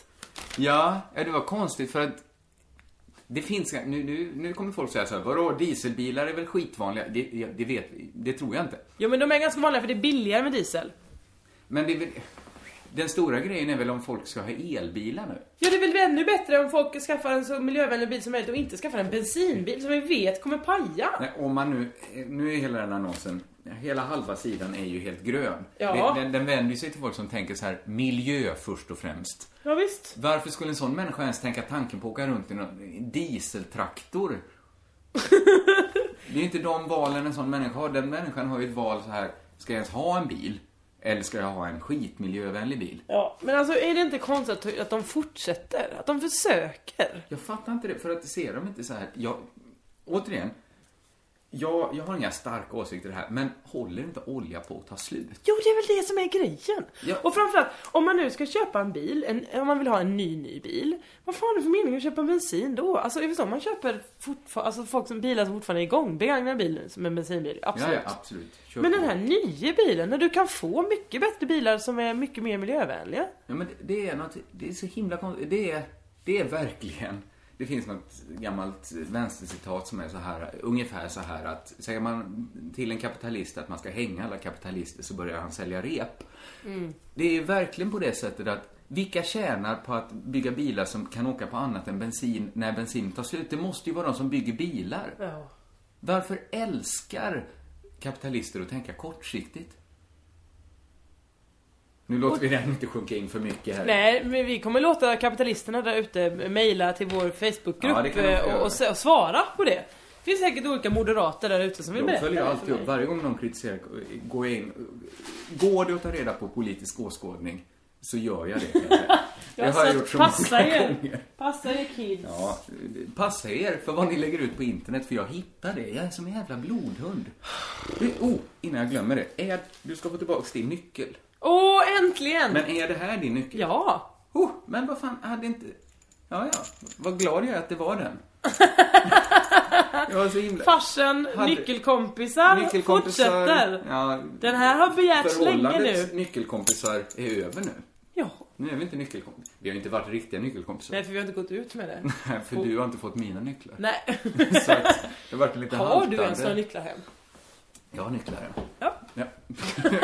[SPEAKER 2] Ja, ja, det var konstigt för att det finns, nu, nu, nu kommer folk säga så här, vadå dieselbilar är väl skitvanliga? Det, ja, det vet vi, det tror jag inte.
[SPEAKER 7] Jo men de är ganska vanliga för det är billigare med diesel.
[SPEAKER 2] Men det är väl, den stora grejen är väl om folk ska ha elbilar nu?
[SPEAKER 7] Ja det är väl ännu bättre om folk skaffar en så miljövänlig bil som möjligt och inte skaffar en bensinbil som vi vet kommer paja.
[SPEAKER 2] Nej, om man nu, nu är hela den här annonsen, hela halva sidan är ju helt grön.
[SPEAKER 7] Ja.
[SPEAKER 2] Det- Den, den vänder ju sig till folk som tänker så här, miljö först och främst.
[SPEAKER 7] Ja, visst.
[SPEAKER 2] Varför skulle en sån människa ens tänka tanken på att åka runt i någon dieseltraktor? Det är ju inte de valen en sån människa har. Den människan har ju ett val så här, ska jag ens ha en bil? Eller ska jag ha en skitmiljövänlig bil?
[SPEAKER 7] Ja, men alltså är det inte konstigt att- att de fortsätter? Att de försöker?
[SPEAKER 2] Jag fattar inte det, för att ser de inte så här, jag, återigen, jag, jag har inga starka åsikter här, men håller inte olja på att ta slut?
[SPEAKER 7] Jo, det är väl det som är grejen.
[SPEAKER 2] Ja.
[SPEAKER 7] Och framförallt, om man nu ska köpa en bil, en, om man vill ha en ny, ny bil. Vad fan är det för mening att köpa bensin då? Alltså, är det så? Man köper fortfarande, alltså folk som bilar som fortfarande är igång, begagnade bilen som en bensinbil. Absolut.
[SPEAKER 2] Ja, ja, absolut. Kör
[SPEAKER 7] Men
[SPEAKER 2] på.
[SPEAKER 7] den här nya bilen, när du kan få mycket bättre bilar som är mycket mer miljövänliga.
[SPEAKER 2] Ja, men det, det är något, det är så himla konstigt. Det är, det är verkligen, det finns något gammalt vänstercitat som är så här, ungefär så här att säger man till en kapitalist att man ska hänga alla kapitalister så börjar han sälja rep. Det är verkligen på det sättet att vilka tjänar på att bygga bilar som kan åka på annat än bensin när bensin tar slut? Det måste ju vara de som bygger bilar.
[SPEAKER 7] Ja.
[SPEAKER 2] Varför älskar kapitalister att tänka kortsiktigt? Nu låter vi den inte sjunka in för mycket här.
[SPEAKER 7] Nej, men vi kommer låta kapitalisterna där ute mejla till vår
[SPEAKER 2] Ja,
[SPEAKER 7] Facebookgrupp
[SPEAKER 2] det kan de
[SPEAKER 7] eh,
[SPEAKER 2] få
[SPEAKER 7] och, och,
[SPEAKER 2] göra.
[SPEAKER 7] s- och svara på det. Det finns säkert olika moderater där ute som vill
[SPEAKER 2] De
[SPEAKER 7] berätta
[SPEAKER 2] följer
[SPEAKER 7] det
[SPEAKER 2] ju
[SPEAKER 7] för
[SPEAKER 2] alltid upp.
[SPEAKER 7] mig.
[SPEAKER 2] Varje gång någon kritiserar går jag in. Går det att ta reda på politisk åskådning så gör jag det. Det har jag
[SPEAKER 7] så
[SPEAKER 2] gjort så
[SPEAKER 7] passa
[SPEAKER 2] många
[SPEAKER 7] er.
[SPEAKER 2] gånger.
[SPEAKER 7] Passa er kids.
[SPEAKER 2] Ja, passa er för vad ni lägger ut på internet för jag hittar det. Jag är som en jävla blodhund. Det- Oh, innan jag glömmer det. Är, du ska få tillbaka din nyckel.
[SPEAKER 7] Åh, äntligen!
[SPEAKER 2] Men är det här din nyckel?
[SPEAKER 7] Ja.
[SPEAKER 2] Oh, men vad fan, hade inte... Ja, ja. Vad glad jag är att det var den. jag var så himla...
[SPEAKER 7] Farsen,
[SPEAKER 2] Hade-
[SPEAKER 7] nyckelkompisar,
[SPEAKER 2] Nyckelkompisar.
[SPEAKER 7] fortsätter.
[SPEAKER 2] Ja,
[SPEAKER 7] Den här har begärts länge
[SPEAKER 2] Förhållandet
[SPEAKER 7] nu.
[SPEAKER 2] nyckelkompisar är över nu.
[SPEAKER 7] Ja.
[SPEAKER 2] Nu är vi inte nyckelkompisar. Vi har inte varit riktiga nyckelkompisar.
[SPEAKER 7] Nej, för vi har inte gått ut med det.
[SPEAKER 2] Nej, för du har inte fått mina nycklar.
[SPEAKER 7] Nej.
[SPEAKER 2] Så att det har varit lite
[SPEAKER 7] Har du ens några
[SPEAKER 2] haltande.
[SPEAKER 7] nycklar hem?
[SPEAKER 2] Jag har nycklar,
[SPEAKER 7] Ja.
[SPEAKER 2] ja.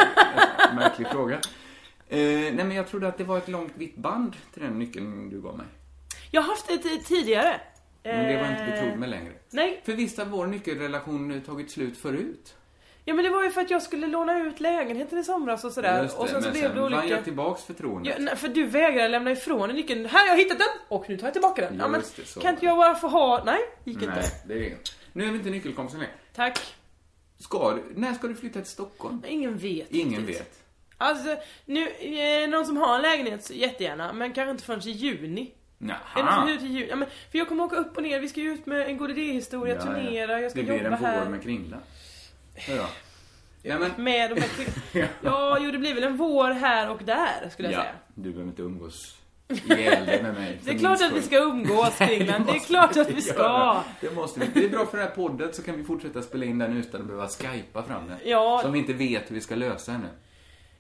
[SPEAKER 2] Märklig fråga. Eh, nej, men jag trodde att det var ett långt vitt band till den nyckeln du gav mig.
[SPEAKER 7] Jag har haft det ti- tidigare.
[SPEAKER 2] Men det var jag
[SPEAKER 7] Eh,
[SPEAKER 2] inte betrodd med längre.
[SPEAKER 7] Nej,
[SPEAKER 2] För visst har vår nyckelrelation eh, tagit slut förut?
[SPEAKER 7] ja, men det var ju för att jag skulle låna ut lägenheten i somras och sådär.
[SPEAKER 2] Just det,
[SPEAKER 7] och sen så
[SPEAKER 2] men
[SPEAKER 7] blev det
[SPEAKER 2] vann
[SPEAKER 7] olika...
[SPEAKER 2] jag tillbaks förtroendet.
[SPEAKER 7] Ja, nej, för du vägrar lämna ifrån dig nyckeln. Här har jag hittat den! Och nu tar jag tillbaka den. Ja, men,
[SPEAKER 2] Just det, så.
[SPEAKER 7] kan inte jag bara få ha... Nej, gick inte.
[SPEAKER 2] Nej, det är... Nu är vi inte nyckelkompisar längre.
[SPEAKER 7] Tack.
[SPEAKER 2] Ska du... När ska du flytta till Stockholm?
[SPEAKER 7] Ingen vet
[SPEAKER 2] Ingen
[SPEAKER 7] riktigt.
[SPEAKER 2] vet.
[SPEAKER 7] Alltså, nu, eh, någon som har en lägenhet, så jättegärna. Men kanske inte förrän i juni. Är det någon som
[SPEAKER 2] Jaha.
[SPEAKER 7] hyr till juni? Ja, men, för jag kommer åka upp och ner, vi ska ju ut med en god idéhistoria,
[SPEAKER 2] Ja, ja.
[SPEAKER 7] turnera, jag ska
[SPEAKER 2] Det blir
[SPEAKER 7] jobba
[SPEAKER 2] en
[SPEAKER 7] här.
[SPEAKER 2] vår med Kringla. Ja, ja. Ja, men...
[SPEAKER 7] Med de här kvinnorna. Ja, jo det blir väl en vår här och där skulle jag
[SPEAKER 2] Ja,
[SPEAKER 7] säga.
[SPEAKER 2] du behöver inte umgås ihjel dig med mig. för
[SPEAKER 7] Det är
[SPEAKER 2] min
[SPEAKER 7] klart att vi
[SPEAKER 2] skull.
[SPEAKER 7] ska umgås Kringland, det är klart att vi ska.
[SPEAKER 2] göra. Det måste vi. Det är bra för den här podden så kan vi fortsätta spela in den utan att behöva skypa fram den.
[SPEAKER 7] Ja.
[SPEAKER 2] Som vi inte vet hur vi ska lösa ännu.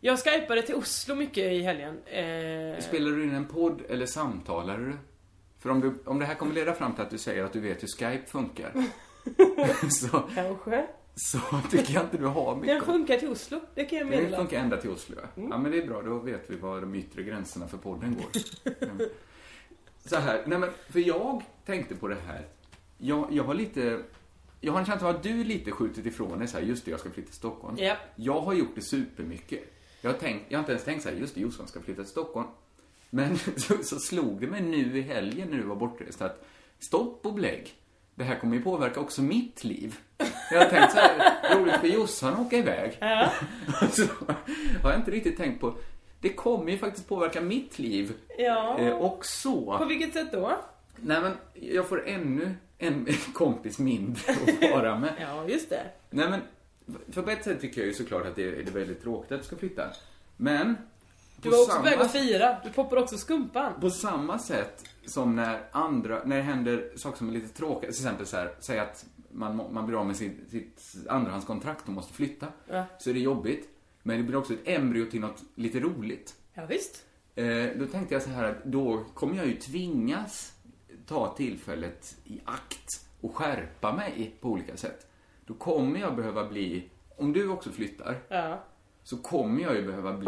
[SPEAKER 7] Jag skypade till Oslo mycket i helgen. Eh,
[SPEAKER 2] Spelar du in en podd eller samtalar du? För om, du, om det här kommer leda fram till att du säger att du vet hur Skype funkar så,
[SPEAKER 7] kanske.
[SPEAKER 2] så tycker jag inte du har
[SPEAKER 7] Den
[SPEAKER 2] mycket.
[SPEAKER 7] funkar till Oslo, det kan jag
[SPEAKER 2] Det
[SPEAKER 7] meddela.
[SPEAKER 2] funkar ända till Oslo, ja. ja. men det är bra, då vet vi var de yttre gränserna för podden går. Mm. Så här, nej men, för jag tänkte på det här. Jag, jag har lite... Jag har en känsla av att du lite skjutit ifrån dig så här, just det, jag ska flytta till Stockholm.
[SPEAKER 7] Ja.
[SPEAKER 2] Jag har gjort det supermycket. Jag har, tänkt, jag har inte ens tänkt så här, just det, Jossan ska flytta till Stockholm. Men så, så slog det mig nu i helgen när du var bortrest att stopp och belägg. Det här kommer ju påverka också mitt liv. Jag har tänkt så här, roligt för Jossan att åka iväg. Så har jag inte riktigt tänkt på. Det kommer ju faktiskt påverka mitt liv
[SPEAKER 7] Ja.
[SPEAKER 2] eh, också.
[SPEAKER 7] På vilket sätt då?
[SPEAKER 2] Nej men, jag får ännu en kompis mindre att vara med.
[SPEAKER 7] Ja, just det.
[SPEAKER 2] Nej men, för på ett sätt tycker jag ju såklart att det är, det är väldigt tråkigt att du ska flytta. Men,
[SPEAKER 7] Du var också på väg att fira, du poppar också skumpan.
[SPEAKER 2] på samma sätt som när andra, när det händer saker som är lite tråkiga, till exempel så här, säg att man, må- man blir av med sitt, sitt andrahandskontrakt och måste flytta.
[SPEAKER 7] Ja.
[SPEAKER 2] Så är det jobbigt. Men det blir också ett embryo till något lite roligt.
[SPEAKER 7] Ja, visst.
[SPEAKER 2] Eh, då tänkte jag så här att då kommer jag ju tvingas ta tillfället i akt och skärpa mig på olika sätt. Då kommer jag behöva bli, om du också flyttar,
[SPEAKER 7] Ja.
[SPEAKER 2] så kommer jag ju behöva bli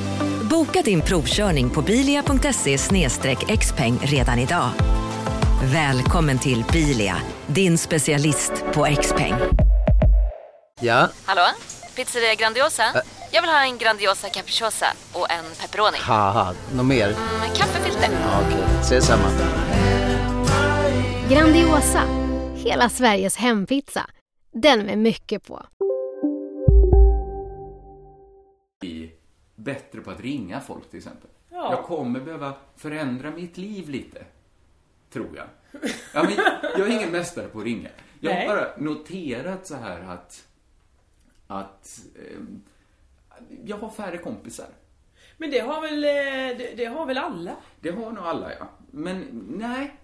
[SPEAKER 8] Boka din provkörning på bilia.se xpeng redan idag. Välkommen till Bilia, din specialist på XPeng.
[SPEAKER 9] Ja, Eh.
[SPEAKER 8] Hallå? Pizzeria Grandiosa? Jag vill ha en Grandiosa capriciosa och en pepperoni. Mm,
[SPEAKER 9] haha, något mer?
[SPEAKER 8] Kaffefilter.
[SPEAKER 9] Ja, Okej, ses samma.
[SPEAKER 10] Grandiosa, hela Sveriges hempizza. Den med mycket på.
[SPEAKER 2] bättre på att ringa folk till exempel.
[SPEAKER 7] Ja.
[SPEAKER 2] Jag kommer behöva förändra mitt liv lite. Tror jag. Ja, men jag är ingen mästare på att ringa. Jag
[SPEAKER 7] Nej.
[SPEAKER 2] har bara noterat så här att, att ehm, jag har färre kompisar.
[SPEAKER 7] Men det har väl, eh, det, det har väl alla?
[SPEAKER 2] Det har nog alla, ja. Men nej,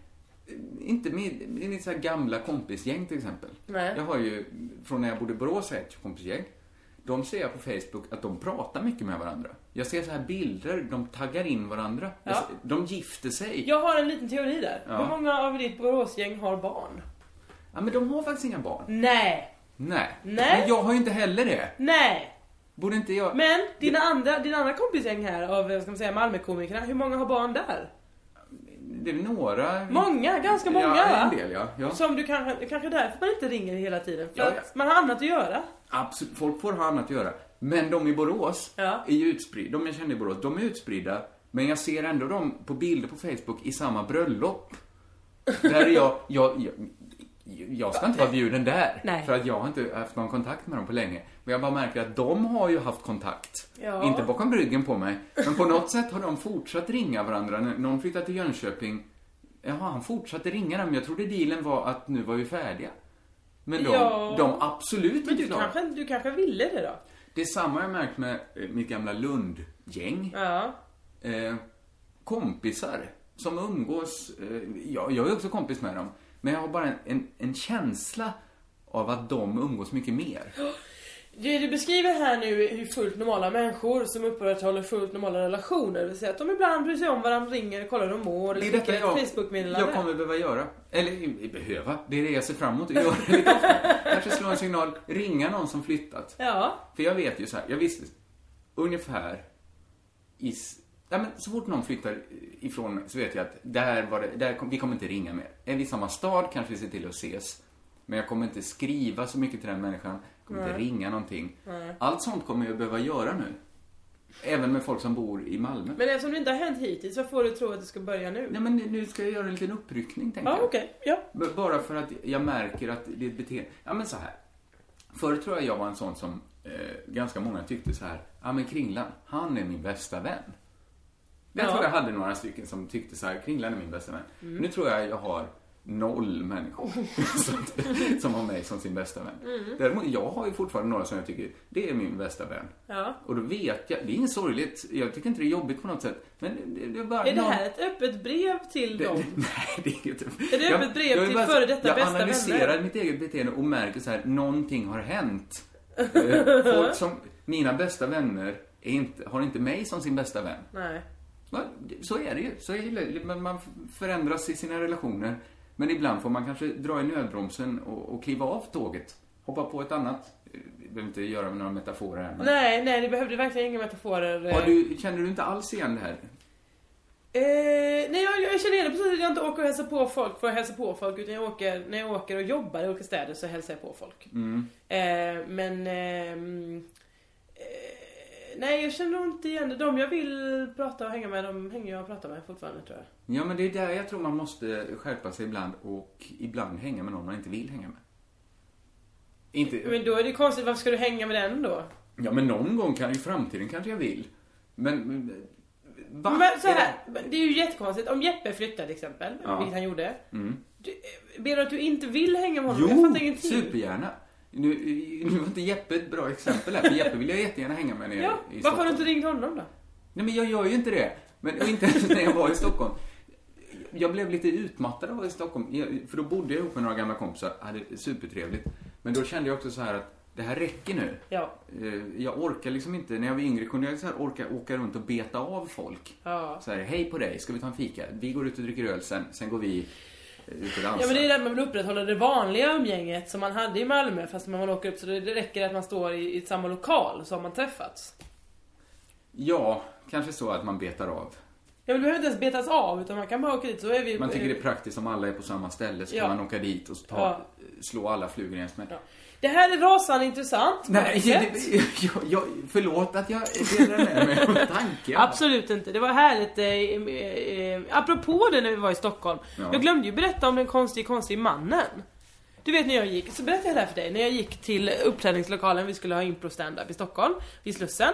[SPEAKER 2] inte med, med mitt så här gamla kompisgäng till exempel.
[SPEAKER 7] Nej.
[SPEAKER 2] Jag har ju, från när jag bodde i Borås, har jag ett kompisgäng. De ser jag på Facebook att de pratar mycket med varandra. Jag ser så här bilder, de taggar in varandra. Jag
[SPEAKER 7] Ja.
[SPEAKER 2] ser- De gifter sig.
[SPEAKER 7] Jag har en liten teori där.
[SPEAKER 2] Ja.
[SPEAKER 7] Hur många av ditt Boråsgäng har barn?
[SPEAKER 2] Ja, men de har faktiskt inga barn.
[SPEAKER 7] Nej,
[SPEAKER 2] Nej.
[SPEAKER 7] Nej.
[SPEAKER 2] Men jag har ju inte heller det.
[SPEAKER 7] nej.
[SPEAKER 2] Borde inte jag...
[SPEAKER 7] Men dina andra, din andra kompisgäng här av, eh, ska man säga, Malmökomikerna, hur många har barn där?
[SPEAKER 2] Det är väl några...
[SPEAKER 7] Många, ganska många
[SPEAKER 2] Mm. Ja,
[SPEAKER 7] va?
[SPEAKER 2] en del, ja. ja.
[SPEAKER 7] Som du kanske, kanske därför man inte ringer hela tiden. För
[SPEAKER 2] Ja, ja.
[SPEAKER 7] att man har annat att göra.
[SPEAKER 2] Absolut, folk får ha annat att göra. Men de i Borås
[SPEAKER 7] Ja.
[SPEAKER 2] är ju utspridda, de jag känner i Borås, de är utspridda. Men jag ser ändå dem på bilder på Facebook i samma bröllop. Där är jag, jag, jag, jag ska inte vara bjuden där.
[SPEAKER 7] Nej.
[SPEAKER 2] För att jag har inte haft någon kontakt med dem på länge. Men jag bara märker att de har ju haft kontakt.
[SPEAKER 7] Ja.
[SPEAKER 2] Inte bakom ryggen på mig. Men på något sätt har de fortsatt ringa varandra. När Någon flyttade till Jönköping. Jaha, han fortsatte ringa dem. Jag trodde dealen var att nu var vi färdiga. Men de,
[SPEAKER 7] Ja.
[SPEAKER 2] de absolut
[SPEAKER 7] Men
[SPEAKER 2] inte
[SPEAKER 7] du
[SPEAKER 2] klarar
[SPEAKER 7] kanske, du kanske ville det då?
[SPEAKER 2] Det är samma jag märkt med eh, mitt gamla Lundgäng.
[SPEAKER 7] Ja.
[SPEAKER 2] Eh, kompisar som umgås. Eh, jag, jag är också kompis med dem. Men jag har bara en, en, en känsla av att de umgås mycket mer.
[SPEAKER 7] Du, du beskriver här nu hur fullt normala människor som upprätthåller fullt normala relationer, det vill säga att de ibland bryr sig om varandra, ringer, kollar hur de mår,
[SPEAKER 2] Det är
[SPEAKER 7] skickar
[SPEAKER 2] detta
[SPEAKER 7] ett
[SPEAKER 2] jag, jag
[SPEAKER 7] Facebook-meddelande.
[SPEAKER 2] kommer behöva göra. Eller eh, behöva, det är det jag ser fram emot att göra lite oftare. Kanske slå en signal, ringa någon som flyttat.
[SPEAKER 7] Ja.
[SPEAKER 2] För jag vet ju så här, jag visste ungefär i... s- Ja, men så fort någon flyttar ifrån mig så vet jag att där var det, där kom, vi kommer inte ringa mer. Är vi i samma stad kanske vi ser till att ses. Men jag kommer inte skriva så mycket till den människan. kommer inte
[SPEAKER 7] Nej.
[SPEAKER 2] ringa någonting.
[SPEAKER 7] Nej.
[SPEAKER 2] Allt sånt kommer jag behöva göra nu. Även med folk som bor i Malmö.
[SPEAKER 7] Men eftersom det inte har hänt hittills, vad får du tro att det ska börja nu?
[SPEAKER 2] Nej men nu ska jag göra en liten uppryckning tänker
[SPEAKER 7] Ja,
[SPEAKER 2] jag.
[SPEAKER 7] okej. Ja.
[SPEAKER 2] B- Bara för att jag märker att det är ett beteende. Ja, men så här. Förr tror jag jag var en sån som eh, ganska många tyckte så här. Ja, men Kringlan, han är min bästa vän. Jag
[SPEAKER 7] Ja.
[SPEAKER 2] tror jag hade några stycken som tyckte så här. Kringlan är min bästa vän.
[SPEAKER 7] Mm.
[SPEAKER 2] Nu tror jag jag har noll människor som, som har mig som sin bästa vän.
[SPEAKER 7] Mm.
[SPEAKER 2] Däremot, jag har ju fortfarande några som jag tycker, det är min bästa vän.
[SPEAKER 7] Ja.
[SPEAKER 2] Och då vet jag, det är inget sorgligt, jag tycker inte det är jobbigt på något sätt. Men det, det är bara
[SPEAKER 7] Är det
[SPEAKER 2] någon-
[SPEAKER 7] här ett öppet brev till dem?
[SPEAKER 2] Nej, det är inget.
[SPEAKER 7] Är det öppet brev
[SPEAKER 2] jag vill
[SPEAKER 7] till
[SPEAKER 2] bara-
[SPEAKER 7] före detta bästa
[SPEAKER 2] Jag analyserar
[SPEAKER 7] vänner?
[SPEAKER 2] mitt eget beteende och märker så här, någonting har hänt. Eh, Folk som, mina bästa vänner är inte, har inte mig som sin bästa vän.
[SPEAKER 7] Nej.
[SPEAKER 2] Va? Så är det ju. Så är det. Men man förändras i sina relationer. Men ibland får man kanske dra i nödbromsen och, och kliva av tåget. Hoppa på ett annat. Eh, Vi behöver inte göra några metaforer här. men-
[SPEAKER 7] Nej, nej, det behövde verkligen inga metaforer. eh.
[SPEAKER 2] Har du, känner du inte alls igen det här?
[SPEAKER 7] Eh, nej, jag, jag känner igen det precis. att Jag inte åker och hälsar på folk för att hälsa på folk. Utan jag åker, när jag åker och jobbar i olika städer så hälsar jag på folk.
[SPEAKER 2] Mm.
[SPEAKER 7] Eh, men... ehm, eh, nej, jag känner nog inte igen det. De jag vill prata och hänga med, de hänger jag och pratar med fortfarande tror jag.
[SPEAKER 2] Ja, men det är där jag tror man måste skärpa sig ibland och ibland hänga med någon man inte vill hänga med. Inte...
[SPEAKER 7] Men då är det konstigt, varför ska du hänga med den då?
[SPEAKER 2] Ja, men någon gång kan i framtiden kanske jag vill. Men... men- Va?
[SPEAKER 7] Men så
[SPEAKER 2] Är det-
[SPEAKER 7] här, det är ju jättekonstigt. Om Jeppe flyttar till exempel,
[SPEAKER 2] Ja.
[SPEAKER 7] vilket han gjorde.
[SPEAKER 2] Mm.
[SPEAKER 7] Ber du att du inte vill hänga med honom? jag
[SPEAKER 2] Jo,
[SPEAKER 7] fattar ingenting.
[SPEAKER 2] supergärna. Nu, nu var inte Jeppe ett bra exempel här, för Jeppe vill jag jättegärna hänga med nere
[SPEAKER 7] Ja,
[SPEAKER 2] i
[SPEAKER 7] varför har
[SPEAKER 2] Stockholm.
[SPEAKER 7] du inte ringt honom då?
[SPEAKER 2] Nej, men jag gör ju inte det. Men och inte ens när jag var i Stockholm. Jag blev lite utmattad av att vara i Stockholm. Jag- För då bodde jag ihop med några gamla kompisar. Hade supertrevligt. Men då kände jag också så här att det här räcker nu.
[SPEAKER 7] Ja.
[SPEAKER 2] Eh, Jag orkar liksom inte. När jag var yngre kunde jag så här orka åka runt och beta av folk.
[SPEAKER 7] Ja.
[SPEAKER 2] Så här, hej på dig, ska vi ta en fika? Vi går ut och dricker öl sen, sen går vi eh, ut och dansar.
[SPEAKER 7] Ja men det är där man vill upprätthålla det vanliga umgänget som man hade i Malmö fast när man åker upp så det, det räcker att man står i, i samma lokal så har man träffats.
[SPEAKER 2] Ja, kanske så att man betar av.
[SPEAKER 7] Ja men det behöver inte ens betas av utan man kan bara åka dit så är vi...
[SPEAKER 2] Man tycker det
[SPEAKER 7] eh,
[SPEAKER 2] är praktiskt om alla är på samma ställe så
[SPEAKER 7] Ja.
[SPEAKER 2] kan man åka dit och ta,
[SPEAKER 7] Ja.
[SPEAKER 2] slå alla flugor i en smäll.
[SPEAKER 7] Eh, det här är rasande intressant. på
[SPEAKER 2] Nej,
[SPEAKER 7] ett sätt.
[SPEAKER 2] det, jag, jag, förlåt att jag delar med mig av tanken.
[SPEAKER 7] Absolut inte. Det var härligt. Eh, eh, eh, apropå det när vi var i Stockholm.
[SPEAKER 2] Ja.
[SPEAKER 7] Jag glömde ju berätta om den konstig konstig mannen. Du vet när jag gick, så berättade jag det här för dig. När jag gick till uppträdningslokalen, vi skulle ha impro standup i Stockholm, vid Slussen.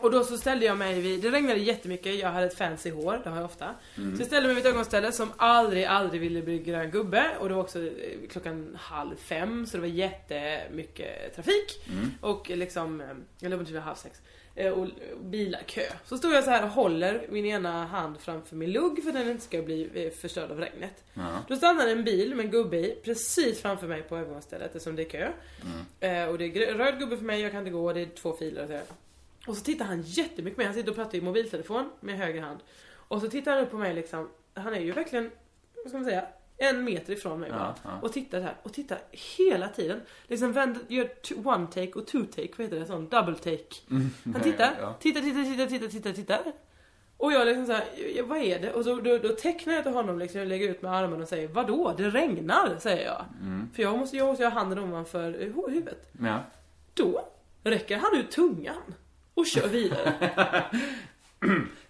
[SPEAKER 7] Och då så ställde jag mig vid, det regnade jättemycket, jag hade ett fancy hår, det har jag ofta.
[SPEAKER 11] Mm.
[SPEAKER 7] Så jag ställde mig vid ett ögonställe som aldrig, aldrig ville bli grön gubbe. Och det var också eh, klockan halv fem, så det var jättemycket trafik.
[SPEAKER 11] Mm.
[SPEAKER 7] Och liksom, eh, jag låg till halv sex. Eh, Och och bilar, kö. Så stod jag så här och håller min ena hand framför min lugg för att den inte ska bli eh, förstörd av regnet.
[SPEAKER 11] Ja.
[SPEAKER 7] Då stannade en bil med en gubbe i precis framför mig på övergångsstället eftersom det är kö.
[SPEAKER 11] Mm.
[SPEAKER 7] Eh, och det är grö- röd gubbe för mig, jag kan inte gå, det är två filer och så här. Och så tittar han jättemycket på mig, han sitter och pratar i mobiltelefon med höger hand. Och så tittar han upp på mig liksom, han är ju verkligen, vad ska man säga, en meter ifrån mig
[SPEAKER 11] Ja,
[SPEAKER 7] bara.
[SPEAKER 11] ja.
[SPEAKER 7] Och tittar här och tittar hela tiden. Liksom vänder, gör t- one take och two take, vad heter det? Sån double take.
[SPEAKER 11] Mm,
[SPEAKER 7] Han
[SPEAKER 11] nej,
[SPEAKER 7] tittar,
[SPEAKER 11] ja.
[SPEAKER 7] tittar, tittar, tittar, tittar, tittar, tittar. Och jag liksom såhär, "Ja, vad är det? Och så, då, då tecknar jag till honom liksom, jag lägger ut med armen och säger Vadå? Det regnar, säger jag.
[SPEAKER 2] Mm.
[SPEAKER 7] För jag måste, jag måste ha handen ovanför eh, hu- huvudet.
[SPEAKER 2] Ja.
[SPEAKER 7] Då räcker han ut tungan och kör vidare.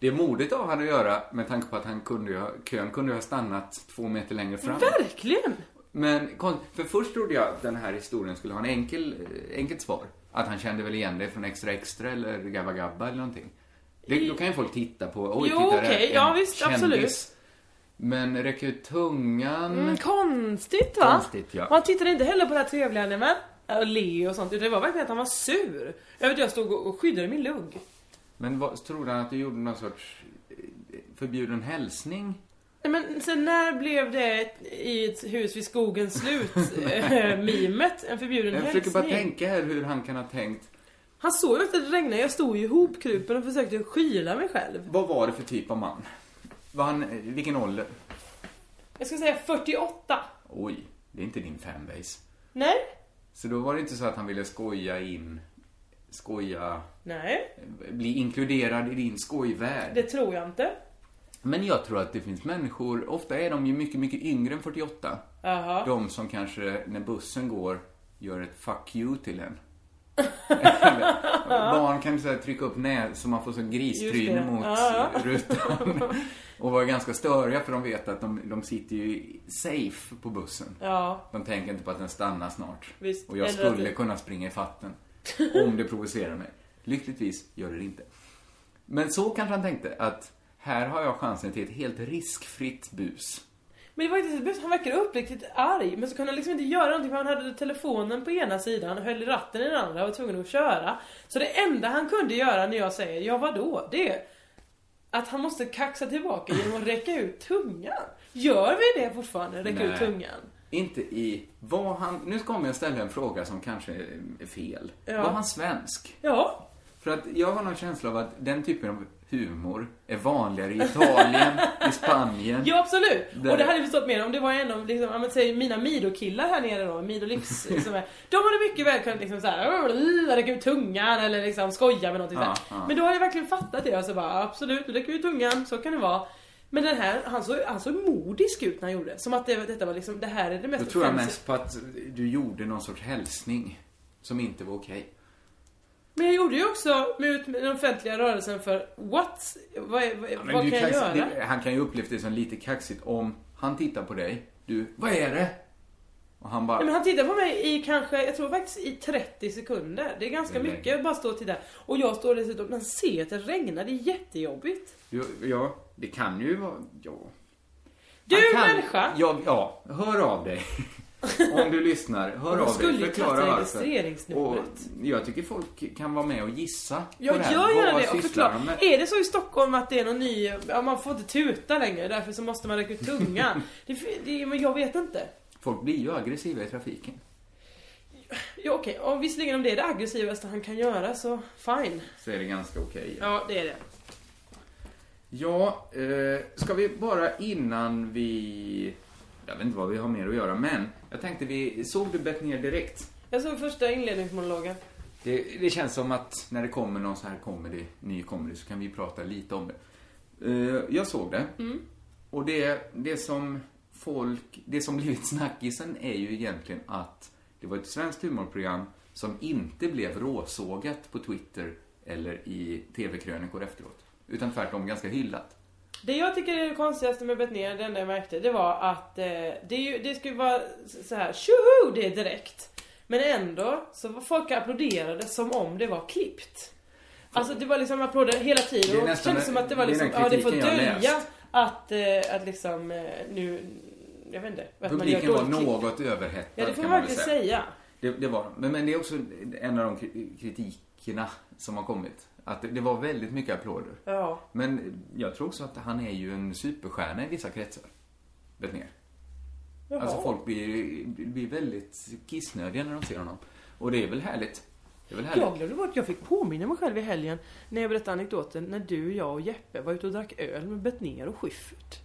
[SPEAKER 2] Det är modigt av han att göra med tanke på att han kunde ju ha, kön kunde ju ha stannat två meter längre fram.
[SPEAKER 7] Verkligen!
[SPEAKER 2] Men kon- för först trodde jag att den här historien skulle ha en enkel, eh, enkelt svar. Att han kände väl igen det från Extra Extra eller Gabba Gabba eller någonting. Det, då kan ju folk titta på, oj,
[SPEAKER 7] Jo,
[SPEAKER 2] titta där,
[SPEAKER 7] okej,
[SPEAKER 2] en
[SPEAKER 7] ja, visst,
[SPEAKER 2] kändis.
[SPEAKER 7] absolut.
[SPEAKER 2] Men räcker ut tungan.
[SPEAKER 7] Mm, konstigt va?
[SPEAKER 2] Konstigt, ja.
[SPEAKER 7] Och Han tittade inte heller på det här trevliga när man och le och sånt. Det var verkligen att han var sur. Över att jag stod och och skyddade min lugg.
[SPEAKER 2] Men vad, trodde han att du gjorde någon sorts eh, förbjuden hälsning?
[SPEAKER 7] Nej, Men sen när blev det ett- i ett hus vid skogens slut eh, mimet en förbjuden
[SPEAKER 2] Jag
[SPEAKER 7] hälsning?
[SPEAKER 2] försöker bara tänka här hur han kan ha tänkt.
[SPEAKER 7] Han såg ju inte att det regnade. Jag stod ju ihopkrupen och försökte skyla mig själv.
[SPEAKER 2] Vad var det för typ av man? Var han, eh, vilken ålder?
[SPEAKER 7] Jag ska säga 48.
[SPEAKER 2] Oj, det är inte din fanbase.
[SPEAKER 7] Nej.
[SPEAKER 2] Så då var det inte så att han ville skoja in, skoja,
[SPEAKER 7] Nej.
[SPEAKER 2] bli inkluderad i din skojvärld.
[SPEAKER 7] Det tror jag inte.
[SPEAKER 2] Men jag tror att det finns människor, ofta är de ju mycket, mycket yngre än 48.
[SPEAKER 7] Jaha.
[SPEAKER 2] De som kanske, när bussen går, gör ett fuck you till en. Eller, barn kan ju så här trycka upp nät så man får sån
[SPEAKER 7] Just
[SPEAKER 2] gristryne
[SPEAKER 7] det.
[SPEAKER 2] mot
[SPEAKER 7] Ja.
[SPEAKER 2] rutan. Och vara ganska störiga för de vet att de, de sitter ju safe på bussen.
[SPEAKER 7] Ja.
[SPEAKER 2] De tänker inte på att den stannar snart.
[SPEAKER 7] Visst,
[SPEAKER 2] Och jag
[SPEAKER 7] eller att
[SPEAKER 2] skulle
[SPEAKER 7] det-
[SPEAKER 2] kunna springa i fatten. Om det provocerar mig. Lyckligtvis gör det det inte. Men så kanske han tänkte att här har jag chansen till ett helt riskfritt bus.
[SPEAKER 7] Men det var inte så bus. Han verkade uppriktigt arg. Men så kunde han liksom inte göra någonting för han hade telefonen på ena sidan och höll i ratten i den andra och var tvungen att köra. Så det enda han kunde göra när jag säger ja vadå? Det är att han måste kaxa tillbaka genom att räcka ut tungan. Gör vi det fortfarande? Räcka ut
[SPEAKER 2] Nej.
[SPEAKER 7] tungan?
[SPEAKER 2] Inte i vad han... Nu kommer jag ställa en fråga som kanske är fel.
[SPEAKER 7] Ja.
[SPEAKER 2] Var han svensk?
[SPEAKER 7] Ja.
[SPEAKER 2] För att jag har någon känsla av att den typen av humor är vanligare i Italien, i Spanien.
[SPEAKER 7] Ja absolut!
[SPEAKER 2] Där-
[SPEAKER 7] Och det hade jag förstått mer om det var en av liksom, ja, men säg mina Mido-killar här nere då, Mido-livs liksom, är- De hade mycket väl kunnat liksom såhär räcka ut tungan eller liksom skoja med någonting
[SPEAKER 11] Ja,
[SPEAKER 7] så här.
[SPEAKER 11] ja.
[SPEAKER 7] Men då hade jag verkligen fattat det och så bara absolut, du räcker ut tungan, så kan det vara. Men den här, han såg, han såg modisk ut när han gjorde det. Som att det, detta var liksom, det här är det mest
[SPEAKER 2] Då tror jag
[SPEAKER 7] offensiva-
[SPEAKER 2] mest på att du gjorde någon sorts hälsning som inte var okej.
[SPEAKER 7] Men jag gjorde ju också med ut- med den offentliga rörelsen för what? Vad, är- vad,
[SPEAKER 2] Men
[SPEAKER 7] vad
[SPEAKER 2] du
[SPEAKER 7] kan jag göra?
[SPEAKER 2] kax- det- han kan ju uppleva det som lite kaxigt om han tittar på dig, du, vad är det? Och han bara,
[SPEAKER 7] Nej, men han tittar på mig i kanske, jag tror faktiskt i 30 sekunder. Det är ganska
[SPEAKER 2] Det är länge.
[SPEAKER 7] mycket att bara stå och titta. Och jag står dessutom, men ser att det regnar, det är jättejobbigt.
[SPEAKER 2] "Jo, ja, det kan ju vara, ja.
[SPEAKER 7] Du
[SPEAKER 2] Han
[SPEAKER 7] människa!
[SPEAKER 2] Ja, ja, hör av dig. om du lyssnar, hör
[SPEAKER 7] Jag
[SPEAKER 2] av
[SPEAKER 7] skulle
[SPEAKER 2] dig,
[SPEAKER 7] ju
[SPEAKER 2] förklara
[SPEAKER 7] tagit
[SPEAKER 2] varför. Och
[SPEAKER 7] registreringsnumret.
[SPEAKER 2] jag tycker folk kan vara med och gissa
[SPEAKER 7] Jag
[SPEAKER 2] på det här.
[SPEAKER 7] gör gärna
[SPEAKER 2] Vad
[SPEAKER 7] det och
[SPEAKER 2] sysslar
[SPEAKER 7] förklara.
[SPEAKER 2] de med?
[SPEAKER 7] Är det så i Stockholm att det är någon ny, ja man får inte tuta längre därför så måste man räcka ut tungan. det, det, men jag vet inte.
[SPEAKER 2] Folk blir ju aggressiva i trafiken.
[SPEAKER 7] Ja, Okej, och visserligen om det är det aggressivaste han kan göra så fine.
[SPEAKER 2] Så är det ganska okej.
[SPEAKER 7] Ja, det är det.
[SPEAKER 2] Ja, eh, ska vi bara innan vi... Jag vet inte vad vi har mer att göra, men jag tänkte vi... Såg du bett ner direkt?
[SPEAKER 7] Jag såg första inledningsmonologen.
[SPEAKER 2] Det, det känns som att när det kommer någon sån här comedy, ny comedy så kan vi prata lite om det. Eh, jag såg det.
[SPEAKER 7] Mm.
[SPEAKER 2] Och det, det som folk... Det som blivit snackisen är ju egentligen att det var ett svenskt humorprogram som inte blev råsågat på Twitter eller i TV-krönikor efteråt. Utan tvärtom ganska hyllat.
[SPEAKER 7] Det jag tycker är det konstigaste med Betnér, det enda jag märkte, det var att eh, det, är ju, det skulle vara s- så här, tjoho, det är direkt. Men ändå så var folk applåderade som om det var klippt. Alltså det var liksom applåder hela
[SPEAKER 2] Det
[SPEAKER 7] tiden
[SPEAKER 2] är
[SPEAKER 7] och det
[SPEAKER 2] nästan
[SPEAKER 7] kändes
[SPEAKER 2] den-
[SPEAKER 7] som att det var
[SPEAKER 2] det är den
[SPEAKER 7] liksom, ja det får
[SPEAKER 2] kritiken jag har
[SPEAKER 7] dölja
[SPEAKER 2] läst.
[SPEAKER 7] att, eh, att liksom eh, nu, jag vet inte, att man gör
[SPEAKER 2] Publiken var
[SPEAKER 7] dåligt klipp.
[SPEAKER 2] något överhettad
[SPEAKER 7] Ja det får
[SPEAKER 2] kan man
[SPEAKER 7] man
[SPEAKER 2] väl säga.
[SPEAKER 7] verkligen säga.
[SPEAKER 2] Det, det var de. men, men det är också en av de kri- kritikerna som har kommit. Att det, det var väldigt mycket applåder.
[SPEAKER 7] Ja.
[SPEAKER 2] Men jag tror också att han är ju en superstjärna i vissa kretsar. Vet ni?
[SPEAKER 7] Jaha.
[SPEAKER 2] Alltså folk blir, blir väldigt kissnödiga när de ser honom. Och det är väl härligt? Det är väl härligt?
[SPEAKER 7] Jag glömde bort, jag fick påminna mig själv i helgen när jag berättade anekdoten när du, jag och Jeppe var ute och drack öl med Betnér och Schyffert.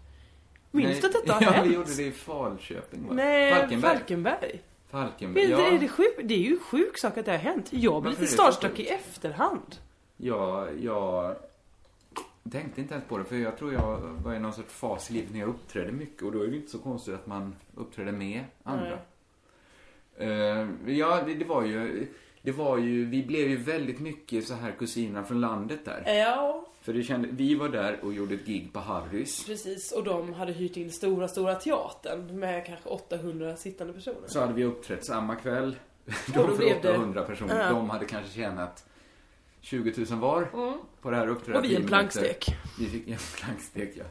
[SPEAKER 7] Minns du att detta har
[SPEAKER 2] Ja,
[SPEAKER 7] hänt?
[SPEAKER 2] vi gjorde det i Falköping va?
[SPEAKER 7] Nej,
[SPEAKER 2] Falkenberg.
[SPEAKER 7] Falkenberg.
[SPEAKER 2] Falkenberg,
[SPEAKER 7] Vet du,
[SPEAKER 2] ja.
[SPEAKER 7] Är det, sjuk, det är ju en sjuk sak att det har hänt. Jag
[SPEAKER 2] Varför
[SPEAKER 7] blir
[SPEAKER 2] är
[SPEAKER 7] lite
[SPEAKER 2] det så
[SPEAKER 7] starstruck
[SPEAKER 2] sjukt?
[SPEAKER 7] i efterhand.
[SPEAKER 2] Ja, jag tänkte inte ens på det för jag tror jag var i någon sorts fas i livet när jag uppträdde mycket och då är det inte så konstigt att man uppträder med andra. Eh, ja, det, det var ju, det var ju, vi blev ju väldigt mycket så här kusiner från landet
[SPEAKER 7] Eh.
[SPEAKER 2] där.
[SPEAKER 7] Ja,
[SPEAKER 2] För det kände, vi var där och gjorde ett gig på Harrys.
[SPEAKER 7] precis. Och de hade hyrt in stora, stora teatern med kanske 800 sittande personer.
[SPEAKER 2] Så hade vi uppträtt samma kväll.
[SPEAKER 7] Och
[SPEAKER 2] De
[SPEAKER 7] då
[SPEAKER 2] för
[SPEAKER 7] blev det-
[SPEAKER 2] 800 personer.
[SPEAKER 7] Ja.
[SPEAKER 2] De hade kanske tjänat 20 000 var
[SPEAKER 7] Mm.
[SPEAKER 2] på det här uppträdandet.
[SPEAKER 7] Och vi en
[SPEAKER 2] Tio
[SPEAKER 7] plankstek.
[SPEAKER 2] minuter. Vi fick en plankstek, ja.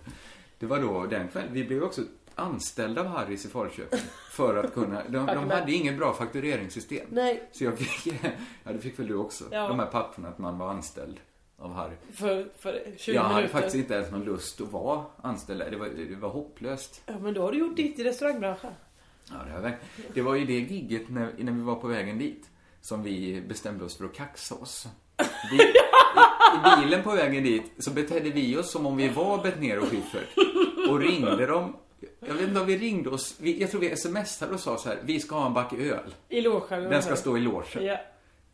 [SPEAKER 2] Det var då den kvällen. Vi blev också anställda av Harris i Falköping för att kunna... De, de hade inget bra faktureringssystem.
[SPEAKER 7] Nej.
[SPEAKER 2] Så jag fick... Ja, det fick väl du också.
[SPEAKER 7] Ja.
[SPEAKER 2] De här papperna att man var anställd av Harry.
[SPEAKER 7] För, för 20
[SPEAKER 2] jag hade
[SPEAKER 7] minuter.
[SPEAKER 2] faktiskt inte ens någon lust att vara anställd där. det var, det var hopplöst.
[SPEAKER 7] Ja, men då har du gjort ditt i restaurangbranschen.
[SPEAKER 2] Ja, det, har jag verkligen. det var ju det gigget när, när vi var på vägen dit som vi bestämde oss för att kaxa oss. Vi, i, I bilen på vägen dit så betedde vi oss som om vi var Betnér och Schyffert och ringde dem. Jag vet inte om vi ringde oss. Vi, jag tror vi smsade och sa så här, vi ska ha en back öl.
[SPEAKER 7] I logen.
[SPEAKER 2] Den ska stå i logen.
[SPEAKER 7] Ja.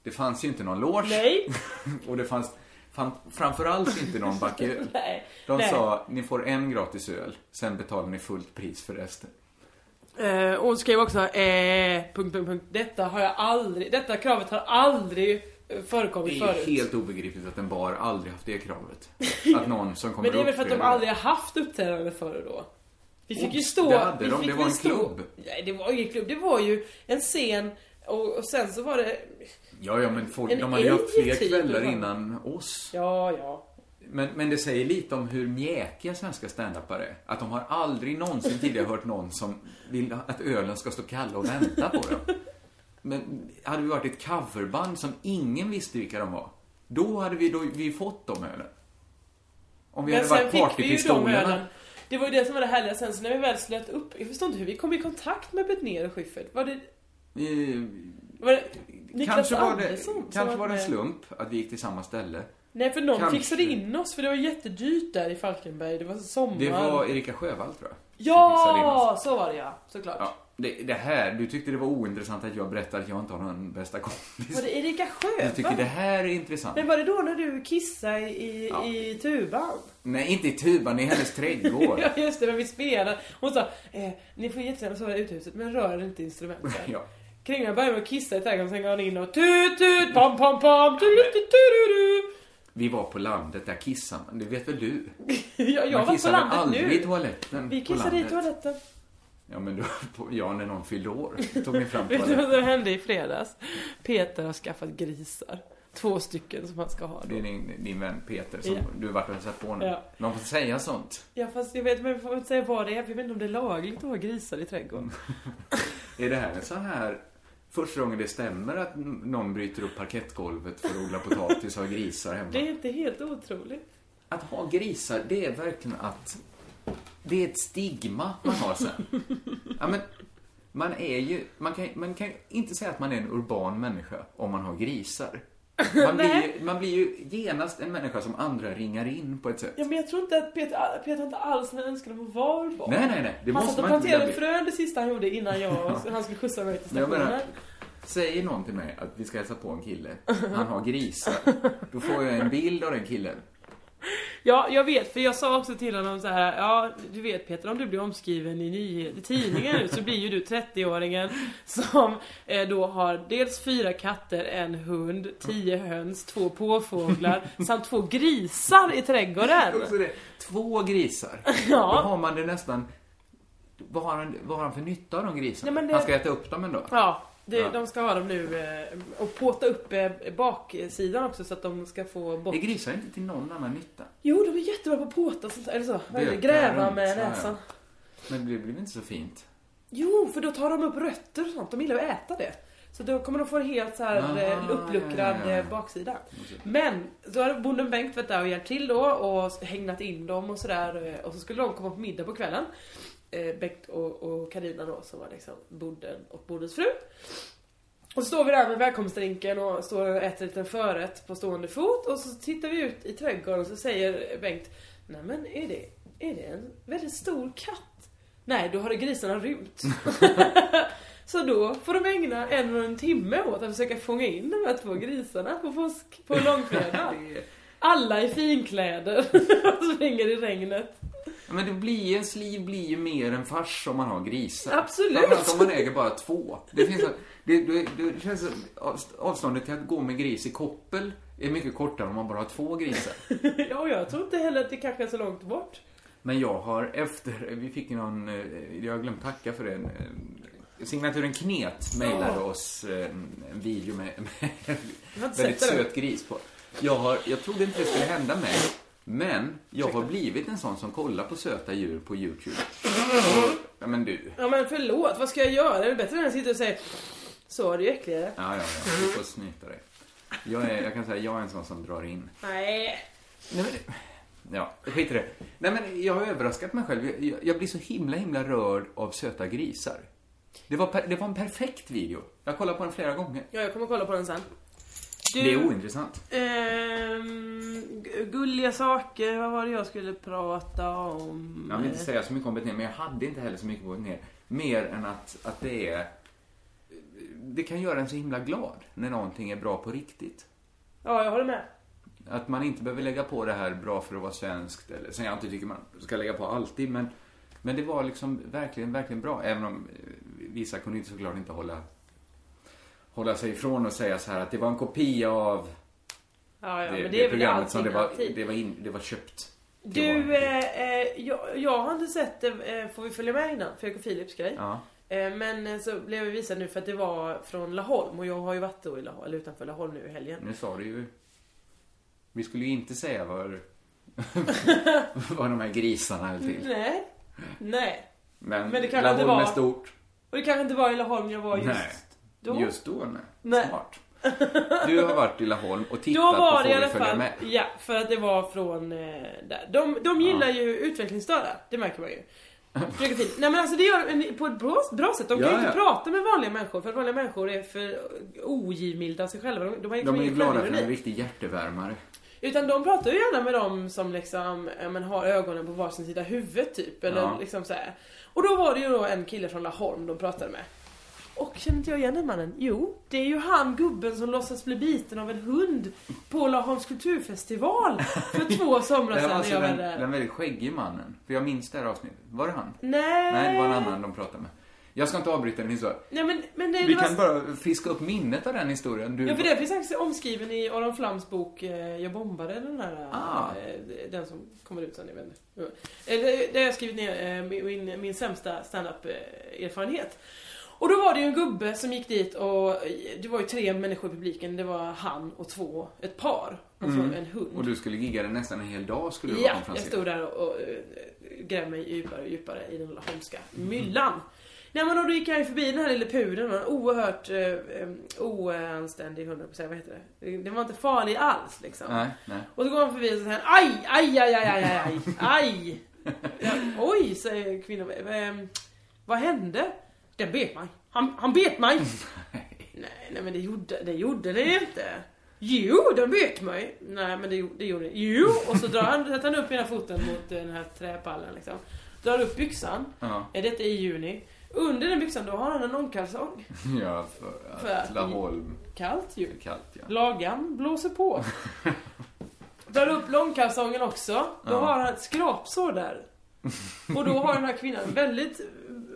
[SPEAKER 2] Det fanns ju inte någon loge.
[SPEAKER 7] Nej.
[SPEAKER 2] och det fanns fan, framförallt inte någon back öl.
[SPEAKER 7] Nej.
[SPEAKER 2] De
[SPEAKER 7] Nej.
[SPEAKER 2] sa, ni får en gratis öl, sen betalar ni fullt pris för resten.
[SPEAKER 7] Eh, och hon skrev också eh, punkt, punkt, punkt. Detta har jag aldrig, detta kravet har aldrig eh, förekommit
[SPEAKER 2] Det
[SPEAKER 7] förut.
[SPEAKER 2] är helt obegripligt att en bar aldrig haft det kravet. Att någon som kommer
[SPEAKER 7] Men det är väl
[SPEAKER 2] upp
[SPEAKER 7] för att de
[SPEAKER 2] gör
[SPEAKER 7] aldrig har haft uppträdande förr då? Vi fick ju
[SPEAKER 2] Oops,
[SPEAKER 7] stå...
[SPEAKER 2] det hade
[SPEAKER 7] vi
[SPEAKER 2] de.
[SPEAKER 7] fick
[SPEAKER 2] Det
[SPEAKER 7] väl
[SPEAKER 2] var en
[SPEAKER 7] stå-
[SPEAKER 2] klubb.
[SPEAKER 7] Nej, det var ingen klubb. Det var ju en scen och, och sen så var det...
[SPEAKER 2] Ja, ja, men folk,
[SPEAKER 7] En
[SPEAKER 2] de hade ju haft fler
[SPEAKER 7] ej-typ
[SPEAKER 2] kvällar
[SPEAKER 7] eller vad?
[SPEAKER 2] innan oss.
[SPEAKER 7] Ja, ja.
[SPEAKER 2] Men, men det säger lite om hur mjäkiga svenska standupare är. Att de har aldrig någonsin tidigare hört någon som vill att ölen ska stå kall och vänta på dem. Men hade vi varit ett coverband som ingen visste vilka de var, då hade vi, då, vi fått de ölen. Om vi
[SPEAKER 7] Men
[SPEAKER 2] hade varit
[SPEAKER 7] sen fick vi ju de
[SPEAKER 2] partypistolerna.
[SPEAKER 7] ölen. Det var ju det som var det härliga sen, så när vi väl slöt upp... Jag förstår inte hur vi kom i kontakt med Betnér och Schyffert. Var det...
[SPEAKER 2] Eh,
[SPEAKER 7] Var det Niklas
[SPEAKER 2] kanske var det,
[SPEAKER 7] Andersson som
[SPEAKER 2] kanske
[SPEAKER 7] var
[SPEAKER 2] var det en
[SPEAKER 7] med?
[SPEAKER 2] slump att vi gick till samma ställe.
[SPEAKER 7] Nej, för någon
[SPEAKER 2] Kanske.
[SPEAKER 7] fixade in oss, för det var jättedyrt där i Falkenberg. Det var sommar.
[SPEAKER 2] Det var Erika Sjövall tror jag. som fixade in oss.
[SPEAKER 7] Mm. Ja, så var det ja. Såklart.
[SPEAKER 2] ja det, det här, du tyckte det var ointressant att jag berättade att jag inte har någon bästa kompis.
[SPEAKER 7] Var det Erika
[SPEAKER 2] Jag tycker
[SPEAKER 7] Sjövall?
[SPEAKER 2] det här är intressant.
[SPEAKER 7] Men var det då när du kissade i,
[SPEAKER 2] Ja.
[SPEAKER 7] i tuban?
[SPEAKER 2] Nej, inte i tuban, i hennes trädgård.
[SPEAKER 7] Ja just det, men vi spelade. Hon sa, eh, ni får jättegärna sova i uthuset men rör inte instrumenten.
[SPEAKER 2] ja.
[SPEAKER 7] Kringlan började med att kissa i trädgården, sen går han in och tut tut, pom pom pom, tut tut tut tut
[SPEAKER 2] Vi var på landet, där kissar man. Det vet väl du?
[SPEAKER 7] Ja, jag
[SPEAKER 2] man
[SPEAKER 7] var på
[SPEAKER 2] kissar väl
[SPEAKER 7] landet
[SPEAKER 2] aldrig i
[SPEAKER 7] nu.
[SPEAKER 2] toaletten
[SPEAKER 7] Vi
[SPEAKER 2] på
[SPEAKER 7] kissade i
[SPEAKER 2] landet.
[SPEAKER 7] toaletten.
[SPEAKER 2] Ja, men då, på, ja, när någon fyllde år tog ni fram
[SPEAKER 7] Vet du
[SPEAKER 2] toaletten.
[SPEAKER 7] vad som hände i fredags? Peter har skaffat grisar. Två stycken som han ska ha
[SPEAKER 2] Det är
[SPEAKER 7] då.
[SPEAKER 2] din, din vän Peter som
[SPEAKER 7] Ja.
[SPEAKER 2] du har varit och hälsat på nu.
[SPEAKER 7] Ja.
[SPEAKER 2] Man får säga sånt.
[SPEAKER 7] Ja fast jag vet, men jag får inte säga vad det är, för jag vet inte om det är lagligt att ha grisar i trädgården.
[SPEAKER 2] Är det här en sån här första gången det stämmer att n- någon bryter upp parkettgolvet för att odla potatis och ha grisar hemma?
[SPEAKER 7] Det är inte helt otroligt.
[SPEAKER 2] Att ha grisar, det är verkligen att... Det är ett stigma man har sen. Ja, men, man är ju... Man kan, man kan ju inte säga att man är en urban människa om man har grisar. Man blir, ju, man blir ju genast en människa som andra ringar in på ett sätt.
[SPEAKER 7] Ja men jag tror inte att Peter, Peter har inte alls någon önskan om att vara urban.
[SPEAKER 2] Nej, nej, nej. Det
[SPEAKER 7] han
[SPEAKER 2] måste
[SPEAKER 7] satt och
[SPEAKER 2] man inte
[SPEAKER 7] planterade
[SPEAKER 2] bli.
[SPEAKER 7] frön det sista han gjorde innan jag han skulle skjutsa mig till
[SPEAKER 2] Men jag menar-
[SPEAKER 7] stationen.
[SPEAKER 2] Säger någon till mig att vi ska hälsa på en kille, han har grisar. Då får jag en bild av den killen.
[SPEAKER 7] Ja, jag vet. För jag sa också till honom så här. Ja, du vet Peter, om du blir omskriven i, nyhet, i tidningen nu så blir ju du 30-åringen som eh, då har dels fyra katter, en hund, tio höns, två påfåglar samt två grisar i trädgården.
[SPEAKER 2] Också det. Två grisar. Då
[SPEAKER 7] Ja.
[SPEAKER 2] har man det nästan... Vad har han, vad har han för nytta av de grisarna?
[SPEAKER 7] Nej, men det-
[SPEAKER 2] Han ska äta upp dem en dag.
[SPEAKER 7] Ja, det,
[SPEAKER 2] Ja.
[SPEAKER 7] de ska ha dem nu eh, och påta upp eh, baksidan också så att de ska få bort...
[SPEAKER 2] Är grisar inte till någon annan nytta?
[SPEAKER 7] Jo, de är jättebra på att påta sånt eller så. Eller
[SPEAKER 2] Böka
[SPEAKER 7] gräva
[SPEAKER 2] runt,
[SPEAKER 7] med
[SPEAKER 2] ja, ja.
[SPEAKER 7] näsan.
[SPEAKER 2] Men det blir inte så fint?
[SPEAKER 7] Jo, för då tar de upp rötter och sånt. De gillar att äta det. Så då kommer de få en helt så här
[SPEAKER 2] Ah,
[SPEAKER 7] eh, uppluckrad
[SPEAKER 2] ja, ja, ja.
[SPEAKER 7] eh, baksida. Men, då hade bonden Bengt varit där och hjälpt till då och hängnat in dem och sådär. eh, Och så skulle de komma på middag på kvällen. Eh, Bengt och, och Carina då som var liksom bonden och bondens fru. Och så står vi där med välkomstdrinken och står och äter en liten förrätt på stående fot och så tittar vi ut i trädgården och så säger Bengt Nej men är det, är det en väldigt stor katt? Nej, då har grisarna rymt. så då får de ägna en och en timme åt att försöka fånga in de här två grisarna på påsk, på långfredag. Alla i finkläder och springer i regnet.
[SPEAKER 2] Ja, Men det blir, ens liv blir ju mer en fars om man har grisar.
[SPEAKER 7] Absolut.
[SPEAKER 2] Framförallt om man äger bara två. Det, finns, det, det, det känns som avst- avståndet till att gå med gris i koppel är mycket kortare om man bara har två grisar.
[SPEAKER 7] ja, och jag tror inte heller att det kanske är så långt bort.
[SPEAKER 2] Men jag har efter, vi fick ju någon, eh, jag har glömt tacka för den. Signaturen Knet mejlade
[SPEAKER 7] Ja.
[SPEAKER 2] oss eh, en video med, med
[SPEAKER 7] Jag har inte
[SPEAKER 2] väldigt
[SPEAKER 7] sett det.
[SPEAKER 2] söt gris på. Jag, har, jag trodde inte det skulle hända mig, Men jag har blivit en sån som kollar på söta djur på YouTube. Och, ja, men du.
[SPEAKER 7] Ja men förlåt, vad ska jag göra? Det är väl bättre än att sitta och säga så är det ju äckligare.
[SPEAKER 2] Ja, ja, ja. Du får snyta dig. Jag, är, jag kan säga, jag är en sån som drar in.
[SPEAKER 7] Nej.
[SPEAKER 2] Nej, men, ja, skit i det. Nej, men jag har överraskat mig själv. Jag, jag, jag blir så himla, himla rörd av söta grisar. Det var, per, det var en perfekt video. Jag har kollat på den flera gånger.
[SPEAKER 7] Ja, jag kommer kolla på den sen. Du,
[SPEAKER 2] Det är ointressant.
[SPEAKER 7] ehm, gu- gulliga saker, vad var det jag skulle prata om?
[SPEAKER 2] Jag vill inte säga så mycket om Betnér, men jag hade inte heller så mycket på Betnér. Mer än att, att det är... Det kan göra en så himla glad när någonting är bra på riktigt.
[SPEAKER 7] Ja, jag håller med.
[SPEAKER 2] Att man inte behöver lägga på det här bra för att vara svenskt. Eller, sen jag inte tycker man ska lägga på alltid, men, men det var liksom verkligen, verkligen bra. Även om eh, vissa kunde inte såklart inte hålla, hålla sig ifrån och säga så här att det var en kopia av
[SPEAKER 7] Ja, ja,
[SPEAKER 2] det,
[SPEAKER 7] men
[SPEAKER 2] det,
[SPEAKER 7] det, är väl
[SPEAKER 2] programmet som det
[SPEAKER 7] allting
[SPEAKER 2] var,
[SPEAKER 7] alltid.
[SPEAKER 2] det var, in, det var köpt. Det
[SPEAKER 7] Du,
[SPEAKER 2] var,
[SPEAKER 7] eh, eh, jag, jag har inte sett eh, Får vi följa med innan? Fredrik och Philips grej.
[SPEAKER 2] ja.
[SPEAKER 7] Eh, Men eh, så blev vi visade nu för att det var från Laholm och jag har ju varit då i Laholm, eller utanför Laholm nu i helgen.
[SPEAKER 2] Nu sa du ju... Vi skulle ju inte säga var, var de här grisarna är till.
[SPEAKER 7] Nej. Nej.
[SPEAKER 2] Men,
[SPEAKER 7] Men det kanske inte
[SPEAKER 2] Laholm är
[SPEAKER 7] var-
[SPEAKER 2] stort.
[SPEAKER 7] Och det kanske inte var i Laholm jag var just
[SPEAKER 2] Nej.
[SPEAKER 7] då.
[SPEAKER 2] Just då, nej.
[SPEAKER 7] Nej.
[SPEAKER 2] Smart. Du har varit i Laholm och tittat
[SPEAKER 7] Då var
[SPEAKER 2] på
[SPEAKER 7] det i
[SPEAKER 2] Får vi
[SPEAKER 7] alla
[SPEAKER 2] följa
[SPEAKER 7] fall,
[SPEAKER 2] med?
[SPEAKER 7] ja, för att det var från eh, där. De, de gillar ju utvecklingsstörda, det märker man ju. Fredrik och Filip. Nej men alltså det gör de på ett bra, bra sätt. De kan
[SPEAKER 2] Ja,
[SPEAKER 7] ju inte
[SPEAKER 2] ja.
[SPEAKER 7] prata med vanliga människor för att vanliga människor är för ogivmilda av sig själva. De, de, har
[SPEAKER 2] De är ju
[SPEAKER 7] ingen
[SPEAKER 2] glada för
[SPEAKER 7] självironi.
[SPEAKER 2] en riktig hjärtevärmare.
[SPEAKER 7] Utan de pratar ju gärna med dem som liksom, ja, men har ögonen på varsin sida huvudet typ. Eller
[SPEAKER 2] Ja.
[SPEAKER 7] liksom så här. Och då var det ju då en kille från Laholm de pratade med. Och känner inte jag igen den mannen? Jo, det är ju han gubben som låtsas bli biten av en hund på Laholms kulturfestival för två somrar
[SPEAKER 2] Det var
[SPEAKER 7] sedan när
[SPEAKER 2] alltså
[SPEAKER 7] jag var
[SPEAKER 2] den,
[SPEAKER 7] där.
[SPEAKER 2] den väldigt skäggige mannen. För jag minns det här avsnittet. Var det han?
[SPEAKER 7] Nej.
[SPEAKER 2] Nej, det var en annan de pratade med. Jag ska inte avbryta den historien.
[SPEAKER 7] Nej men, men det,
[SPEAKER 2] Vi
[SPEAKER 7] det var...
[SPEAKER 2] kan bara fiska upp minnet av den historien. Du
[SPEAKER 7] Ja för det finns faktiskt omskriven i Aron Flams bok eh, Jag bombade den här,
[SPEAKER 2] Ah.
[SPEAKER 7] eh, den som kommer ut sen, jag vet inte. Ja. Eh, Det det har jag skrivit ner eh, min- min, min sämsta standup eh, erfarenhet. Och då var det ju en gubbe som gick dit och eh, det var ju tre människor i publiken, det var han och två, ett par. Och så
[SPEAKER 2] Mm.
[SPEAKER 7] en hund.
[SPEAKER 2] Och du skulle gigga den nästan en hel dag skulle du
[SPEAKER 7] Ja,
[SPEAKER 2] vara
[SPEAKER 7] jag
[SPEAKER 2] konferencier.
[SPEAKER 7] stod där och, och eh, grävde mig djupare och djupare i den lilla holmska myllan. Nej men och då gick jag ju förbi den här lilla pudeln, en oerhört eh, eh, oanständig hund, höll jag på att säga, vad heter det? Den var inte farlig alls liksom.
[SPEAKER 2] Nej, nej.
[SPEAKER 7] Och så går han förbi och så säger han, aj, aj, aj, aj, aj, aj, aj, aj. Ja, Oj, säger kvinnan. Ehm, Vad hände? Den bet mig. Han, han bet mig. nej, nej men det gjorde, det gjorde det inte. Jo, den bet mig. Nej men det, gjo- det gjorde det Jo! Och så drar han, sätter han upp ena foten mot eh, den här träpallen liksom. Drar upp byxan.
[SPEAKER 2] Ja.
[SPEAKER 7] Eh, Detta är i juni. Under den byxan då har han en långkalsong.
[SPEAKER 2] Ja, för att
[SPEAKER 7] För att-
[SPEAKER 2] Laholm
[SPEAKER 7] Kallt ju.
[SPEAKER 2] är kallt ja.
[SPEAKER 7] Lagan blåser på. Drar upp långkalsongen också. Då
[SPEAKER 2] Ja.
[SPEAKER 7] har han ett skrapsår där. Och då har den här kvinnan väldigt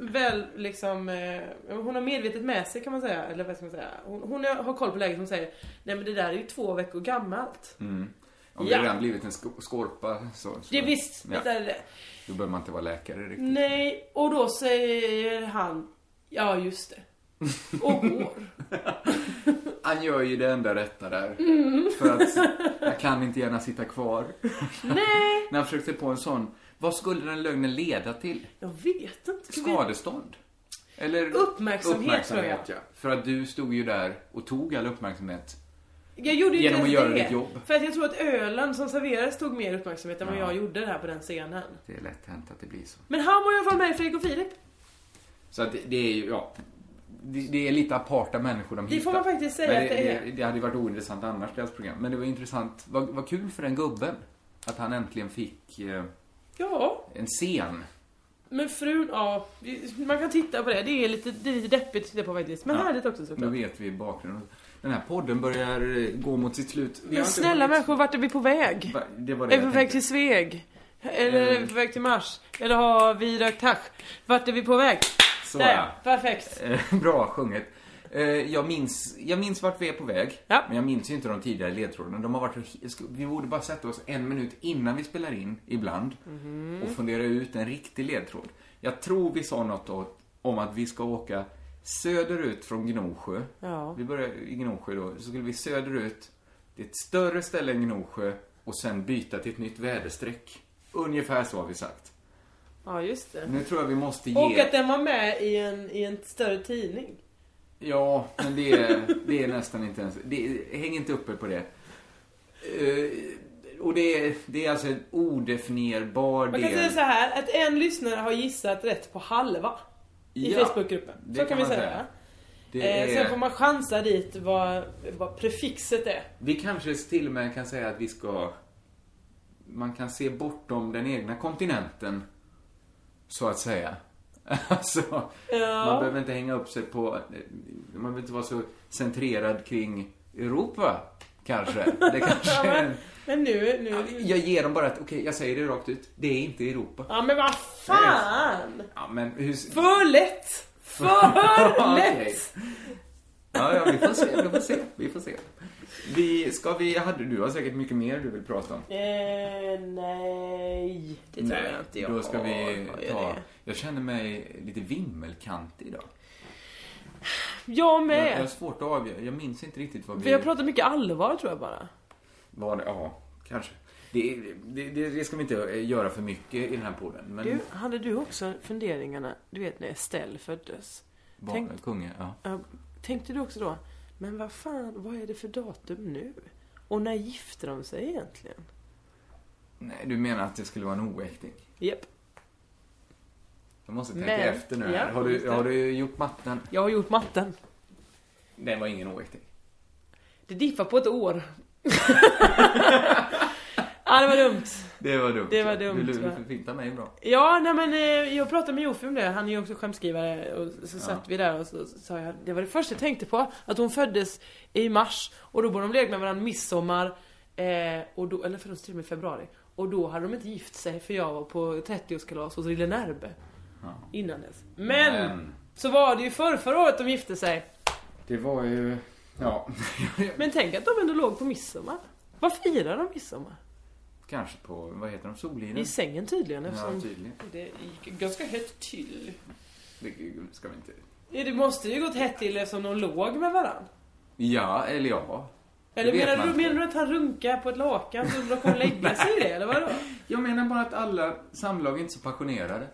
[SPEAKER 7] väl liksom, eh, hon har medvetet med sig kan man säga, eller vad ska man säga. Hon, hon har koll på läget, hon säger Nej men det där är ju två veckor gammalt.
[SPEAKER 2] Mm. Om
[SPEAKER 7] Ja.
[SPEAKER 2] det redan blivit en sko- skorpa så, så
[SPEAKER 7] Det är visst,
[SPEAKER 2] Ja.
[SPEAKER 7] det där är det.
[SPEAKER 2] då behöver man inte vara läkare riktigt.
[SPEAKER 7] Nej, och då säger han Ja just det. Och går.
[SPEAKER 2] Han gör ju det enda rätta där.
[SPEAKER 7] Mm.
[SPEAKER 2] För att jag kan inte gärna sitta kvar.
[SPEAKER 7] Nej,
[SPEAKER 2] När han försökte på en sån, vad skulle den lögnen leda till?
[SPEAKER 7] jag vet inte.
[SPEAKER 2] Skadestånd? Eller
[SPEAKER 7] Uppmärksamhet, tror jag.
[SPEAKER 2] ja. För att du stod ju där och tog all uppmärksamhet.
[SPEAKER 7] Jag gjorde ju
[SPEAKER 2] Genom
[SPEAKER 7] inte
[SPEAKER 2] att göra
[SPEAKER 7] ens det.
[SPEAKER 2] ditt jobb.
[SPEAKER 7] För att jag tror att ölen som serverades tog mer uppmärksamhet än vad
[SPEAKER 2] Ja.
[SPEAKER 7] jag gjorde där på den scenen.
[SPEAKER 2] Det är lätt hänt att det blir så.
[SPEAKER 7] Men han var i alla fall med i Fredrik och Filip.
[SPEAKER 2] Så att det, det är ju, ja. Det, det är lite aparta människor de
[SPEAKER 7] Det får man faktiskt säga
[SPEAKER 2] Men
[SPEAKER 7] att det är.
[SPEAKER 2] Det, det hade ju varit ointressant annars, deras program. Men det var intressant. Vad, vad kul för den gubben. Att han äntligen fick eh,
[SPEAKER 7] Ja,
[SPEAKER 2] en scen.
[SPEAKER 7] men frun, ja. vi- Man kan titta på det. Det är lite, det är lite deppigt att titta på faktiskt. Men
[SPEAKER 2] Ja.
[SPEAKER 7] härligt också
[SPEAKER 2] Nu
[SPEAKER 7] såklart.
[SPEAKER 2] vet vi bakgrunden. Den här podden börjar eh, gå mot sitt slut. Vi
[SPEAKER 7] Men
[SPEAKER 2] har inte
[SPEAKER 7] snälla
[SPEAKER 2] hunnit-
[SPEAKER 7] människor, vart är vi på väg?
[SPEAKER 2] Va- Det var det
[SPEAKER 7] Är vi
[SPEAKER 2] jag
[SPEAKER 7] på väg
[SPEAKER 2] tänkte. Eh.
[SPEAKER 7] till Sveg? Eller är vi på väg till Mars? Eller har vi rökt hasch? Vart är vi på väg?
[SPEAKER 2] Så,
[SPEAKER 7] Där
[SPEAKER 2] ja.
[SPEAKER 7] ja, perfekt.
[SPEAKER 2] Eh, Bra sjunget. Eh, Jag minns, jag minns vart vi är på väg,
[SPEAKER 7] Ja.
[SPEAKER 2] men jag minns ju inte de tidigare ledtrådarna. De har varit, så- vi borde bara sätta oss en minut innan vi spelar in, ibland,
[SPEAKER 7] Mhm.
[SPEAKER 2] och fundera ut en riktig ledtråd. Jag tror vi sa något åt- om att vi ska åka söderut från Gnosjö.
[SPEAKER 7] Ja.
[SPEAKER 2] Vi börjar i Gnosjö då, så skulle vi söderut. Det är ett större ställe än Gnosjö, och sen byta till ett nytt väderstreck. Ungefär så har vi sagt.
[SPEAKER 7] Ja, just det.
[SPEAKER 2] Nu tror jag vi måste ge...
[SPEAKER 7] Och att den var med i en, i en större tidning.
[SPEAKER 2] Ja, men det är, det är nästan inte ens... Det är, häng inte uppe på det. Eh, och det är, det är alltså en odefinierbar
[SPEAKER 7] Man kan säga
[SPEAKER 2] del.
[SPEAKER 7] så här att en lyssnare har gissat rätt på halva. I
[SPEAKER 2] Ja,
[SPEAKER 7] Facebookgruppen.
[SPEAKER 2] det
[SPEAKER 7] Så kan,
[SPEAKER 2] kan
[SPEAKER 7] vi
[SPEAKER 2] man
[SPEAKER 7] säga.
[SPEAKER 2] säga. Det
[SPEAKER 7] Eh,
[SPEAKER 2] är,
[SPEAKER 7] Sen får man chansa dit vad, vad prefixet är.
[SPEAKER 2] Vi kanske till och med kan säga att vi ska... Man kan se bortom den egna kontinenten, så att säga. Alltså,
[SPEAKER 7] Ja.
[SPEAKER 2] man behöver inte hänga upp sig på... Man behöver inte vara så centrerad kring Europa, kanske. Det kanske är en,
[SPEAKER 7] Men nu, nu.
[SPEAKER 2] Jag ger dem bara att, okej, jag säger det rakt ut. Det är inte Europa.
[SPEAKER 7] Ja men vad fan!
[SPEAKER 2] Ja, men hur...
[SPEAKER 7] För lätt! För
[SPEAKER 2] Okej.
[SPEAKER 7] lätt!
[SPEAKER 2] Ja, ja, vi får se, vi får se, vi får se. Vi, ska vi, hade, du har säkert mycket mer du vill prata om.
[SPEAKER 7] Eh, nej, det tror jag inte jag
[SPEAKER 2] Då ska vi
[SPEAKER 7] har. Vad är
[SPEAKER 2] ta...
[SPEAKER 7] det?
[SPEAKER 2] Jag känner mig lite vimmelkantig idag.
[SPEAKER 7] Jag
[SPEAKER 2] Jag, jag har
[SPEAKER 7] med!
[SPEAKER 2] svårt att avgöra. Jag minns inte riktigt vad vi...
[SPEAKER 7] Vi har pratat mycket allvar tror jag bara.
[SPEAKER 2] vad, ja, kanske. Det, det, det, det ska vi inte eh, göra för mycket i den här podden. Men...
[SPEAKER 7] Du, hade du också funderingarna, du vet när Estelle föddes?
[SPEAKER 2] Bara
[SPEAKER 7] Tänk,
[SPEAKER 2] kunge, ja.
[SPEAKER 7] ja, tänkte du också då, men vad fan, vad är det för datum nu? Och när gifte de sig egentligen?
[SPEAKER 2] Nej, du menar att det skulle vara en oäkting?
[SPEAKER 7] Japp.
[SPEAKER 2] Jag måste tänka
[SPEAKER 7] Men-
[SPEAKER 2] efter nu här.
[SPEAKER 7] ja,
[SPEAKER 2] har,
[SPEAKER 7] just
[SPEAKER 2] du,
[SPEAKER 7] det.
[SPEAKER 2] har du gjort matten?
[SPEAKER 7] Jag har gjort matten.
[SPEAKER 2] Den var ingen oäkting.
[SPEAKER 7] Det diffar på ett år. ja, det var dumt.
[SPEAKER 2] Det var dumt.
[SPEAKER 7] Det var
[SPEAKER 2] ja.
[SPEAKER 7] dumt,
[SPEAKER 2] Du,
[SPEAKER 7] va?
[SPEAKER 2] du förfintar mig bra.
[SPEAKER 7] Ja, nej men eh, jag pratade med Jofi om det, han är ju också skämtskrivare och så satt vi där och så sa jag, det var det första jag tänkte på, att hon föddes i mars och då borde de lekt med varandra midsommar, eh, och då, eller föddes till och med i februari. Och då hade de inte gift sig för jag var på 30-årskalas hos Rille Närbe. Innan dess. Men,
[SPEAKER 2] Men.
[SPEAKER 7] Så var det ju förr, förra året de gifte sig.
[SPEAKER 2] Det var ju... Ja,
[SPEAKER 7] Men tänk att de ändå låg på midsommar. Vad firar de midsommar?
[SPEAKER 2] kanske på... Vad heter de? Solinen?
[SPEAKER 7] I sängen tydligen eftersom
[SPEAKER 2] Ja, tydligen.
[SPEAKER 7] det gick ganska hett till.
[SPEAKER 2] Det ska vi inte...
[SPEAKER 7] Ja, Det måste ju gått hett till eftersom de låg med varandra.
[SPEAKER 2] Ja, eller ja. Det
[SPEAKER 7] Eller
[SPEAKER 2] vet
[SPEAKER 7] menar
[SPEAKER 2] man
[SPEAKER 7] du,
[SPEAKER 2] inte.
[SPEAKER 7] menar du att han runkar på ett lakan så de kommer lägga sig i det, eller vadå?
[SPEAKER 2] Jag menar bara att alla samlag är inte så passionerade.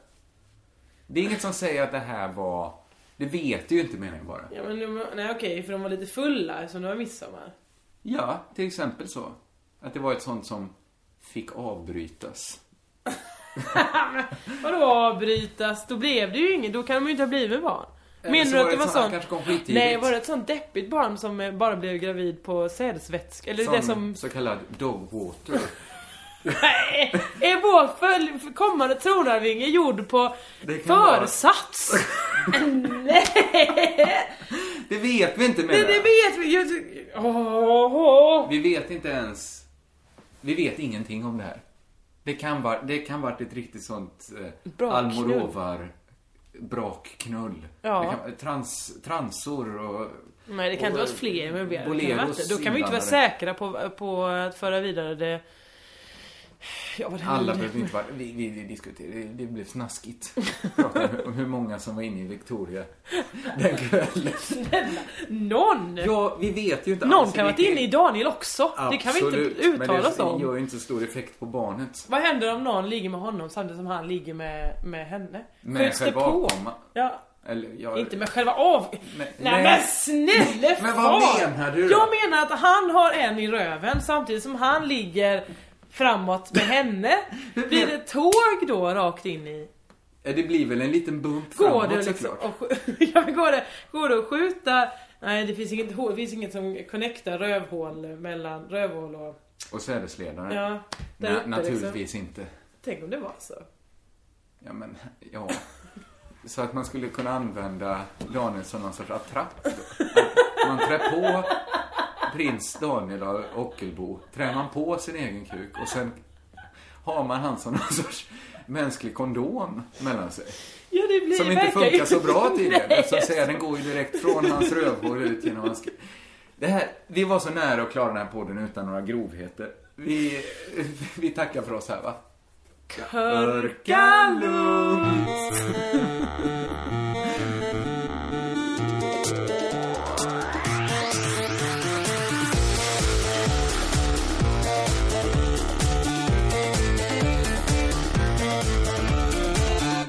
[SPEAKER 2] Det är inget som säger att det här var... Det vet du ju inte menar jag bara.
[SPEAKER 7] Ja, men, de- nej okej, för de var lite fulla eftersom det var midsommar.
[SPEAKER 2] Ja, till exempel så. Att det var ett sånt som fick avbrytas.
[SPEAKER 7] Vadå avbrytas? Då blev det ju inget, då kan de ju inte ha blivit barn.
[SPEAKER 2] Eller
[SPEAKER 7] Menar
[SPEAKER 2] så
[SPEAKER 7] du
[SPEAKER 2] var det
[SPEAKER 7] att det var
[SPEAKER 2] ett sånt-
[SPEAKER 7] sånt?
[SPEAKER 2] kanske kom skittidigt.
[SPEAKER 7] Nej, var det ett sånt deppigt barn som eh, bara blev gravid på sädesvätska? Eller det som...
[SPEAKER 2] Så kallad dogwater.
[SPEAKER 7] Nej! Är vår följ- för kommande tronarvinge gjord på
[SPEAKER 2] Det kan vara-
[SPEAKER 7] försats? Nej!
[SPEAKER 2] Det vet vi inte menar
[SPEAKER 7] Det,
[SPEAKER 2] jag.
[SPEAKER 7] det vet vi ju. Åh.
[SPEAKER 2] Vi vet inte ens... Vi vet ingenting om det här. Det kan vara, det kan vara ett riktigt sånt eh,
[SPEAKER 7] Brakknull.
[SPEAKER 2] Almodovar brakknull.
[SPEAKER 7] Ja.
[SPEAKER 2] Det kan, vara trans, transor och...
[SPEAKER 7] Nej det kan
[SPEAKER 2] och, eh,
[SPEAKER 7] inte vara fler involverade. Det kan
[SPEAKER 2] Boleros
[SPEAKER 7] vara inte- Då kan vi ju inte
[SPEAKER 2] inblandade.
[SPEAKER 7] vara säkra på, på att föra vidare det... Ja, vad det
[SPEAKER 2] Alla
[SPEAKER 7] nu-
[SPEAKER 2] behöver inte vara... Vi, vi, vi diskuterar. Det, det blev snaskigt. Prata om hur- om hur många som var inne i Victoria den kvällen.
[SPEAKER 7] Någon!
[SPEAKER 2] Ja, vi vet ju inte
[SPEAKER 7] Någon
[SPEAKER 2] alls
[SPEAKER 7] kan ha varit
[SPEAKER 2] vilken-
[SPEAKER 7] inne i Daniel också. det kan vi inte
[SPEAKER 2] Absolut,
[SPEAKER 7] uttala oss
[SPEAKER 2] Men det gör
[SPEAKER 7] om.
[SPEAKER 2] ju inte så stor effekt på barnet.
[SPEAKER 7] Vad händer om någon ligger med honom samtidigt som han ligger med, med henne?
[SPEAKER 2] Med
[SPEAKER 7] Skjuts det
[SPEAKER 2] själva
[SPEAKER 7] på?
[SPEAKER 2] avkomman.
[SPEAKER 7] Ja,
[SPEAKER 2] Eller, jag,
[SPEAKER 7] inte med själva av... Nej,
[SPEAKER 2] nej.
[SPEAKER 7] men snälla
[SPEAKER 2] Men vad
[SPEAKER 7] far!
[SPEAKER 2] menar du då?
[SPEAKER 7] Jag menar att han har en i röven samtidigt som han ligger framåt med henne. Blir det tåg då rakt in i...
[SPEAKER 2] Ja, Det blir väl en liten bump
[SPEAKER 7] Går
[SPEAKER 2] framåt
[SPEAKER 7] det liksom
[SPEAKER 2] såklart.
[SPEAKER 7] och, ja, men går, det, går det att skjuta? Nej det finns inget, hål- det finns inget som connectar rövhål mellan rövhål och...
[SPEAKER 2] Och sädesledaren?
[SPEAKER 7] Ja, där
[SPEAKER 2] Na-
[SPEAKER 7] uppe liksom.
[SPEAKER 2] naturligtvis inte.
[SPEAKER 7] Tänk om det var så.
[SPEAKER 2] Ja, men ja. Så att man skulle kunna använda Daniel som någon sorts attrapp. då. Att Man trär på prins Daniel av Ockelbo, trär man på sin egen kuk och sen har man han som någon sorts mänsklig kondom mellan sig.
[SPEAKER 7] Ja det blir
[SPEAKER 2] Som inte
[SPEAKER 7] verkar
[SPEAKER 2] funkar
[SPEAKER 7] ju-
[SPEAKER 2] så bra tydligen.
[SPEAKER 7] Nej.
[SPEAKER 2] Eftersom säden går ju direkt från hans rövhål ut genom hans... Det här, vi var så nära att klara den här podden utan några grovheter. Vi, vi tackar för oss här va? Körka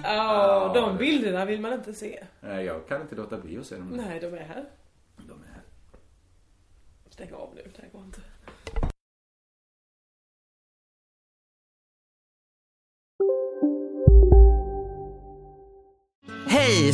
[SPEAKER 2] Ja,
[SPEAKER 7] De
[SPEAKER 2] det-
[SPEAKER 7] bilderna vill man inte se.
[SPEAKER 2] Nej, Eh, jag kan inte låta bli att se dem. nu.
[SPEAKER 7] Nej, de är här.
[SPEAKER 2] De är här.
[SPEAKER 7] Stäng av nu, det här går inte.
[SPEAKER 11] Hej,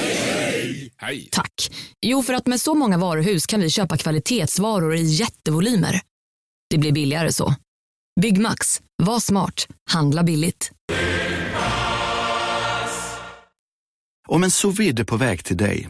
[SPEAKER 12] Tack. Jo, för att med så många varuhus kan vi köpa kvalitetsvaror i jättevolymer. Det blir billigare så. Byggmax. Var smart. Handla billigt.
[SPEAKER 13] Om en sous vide är på väg till dig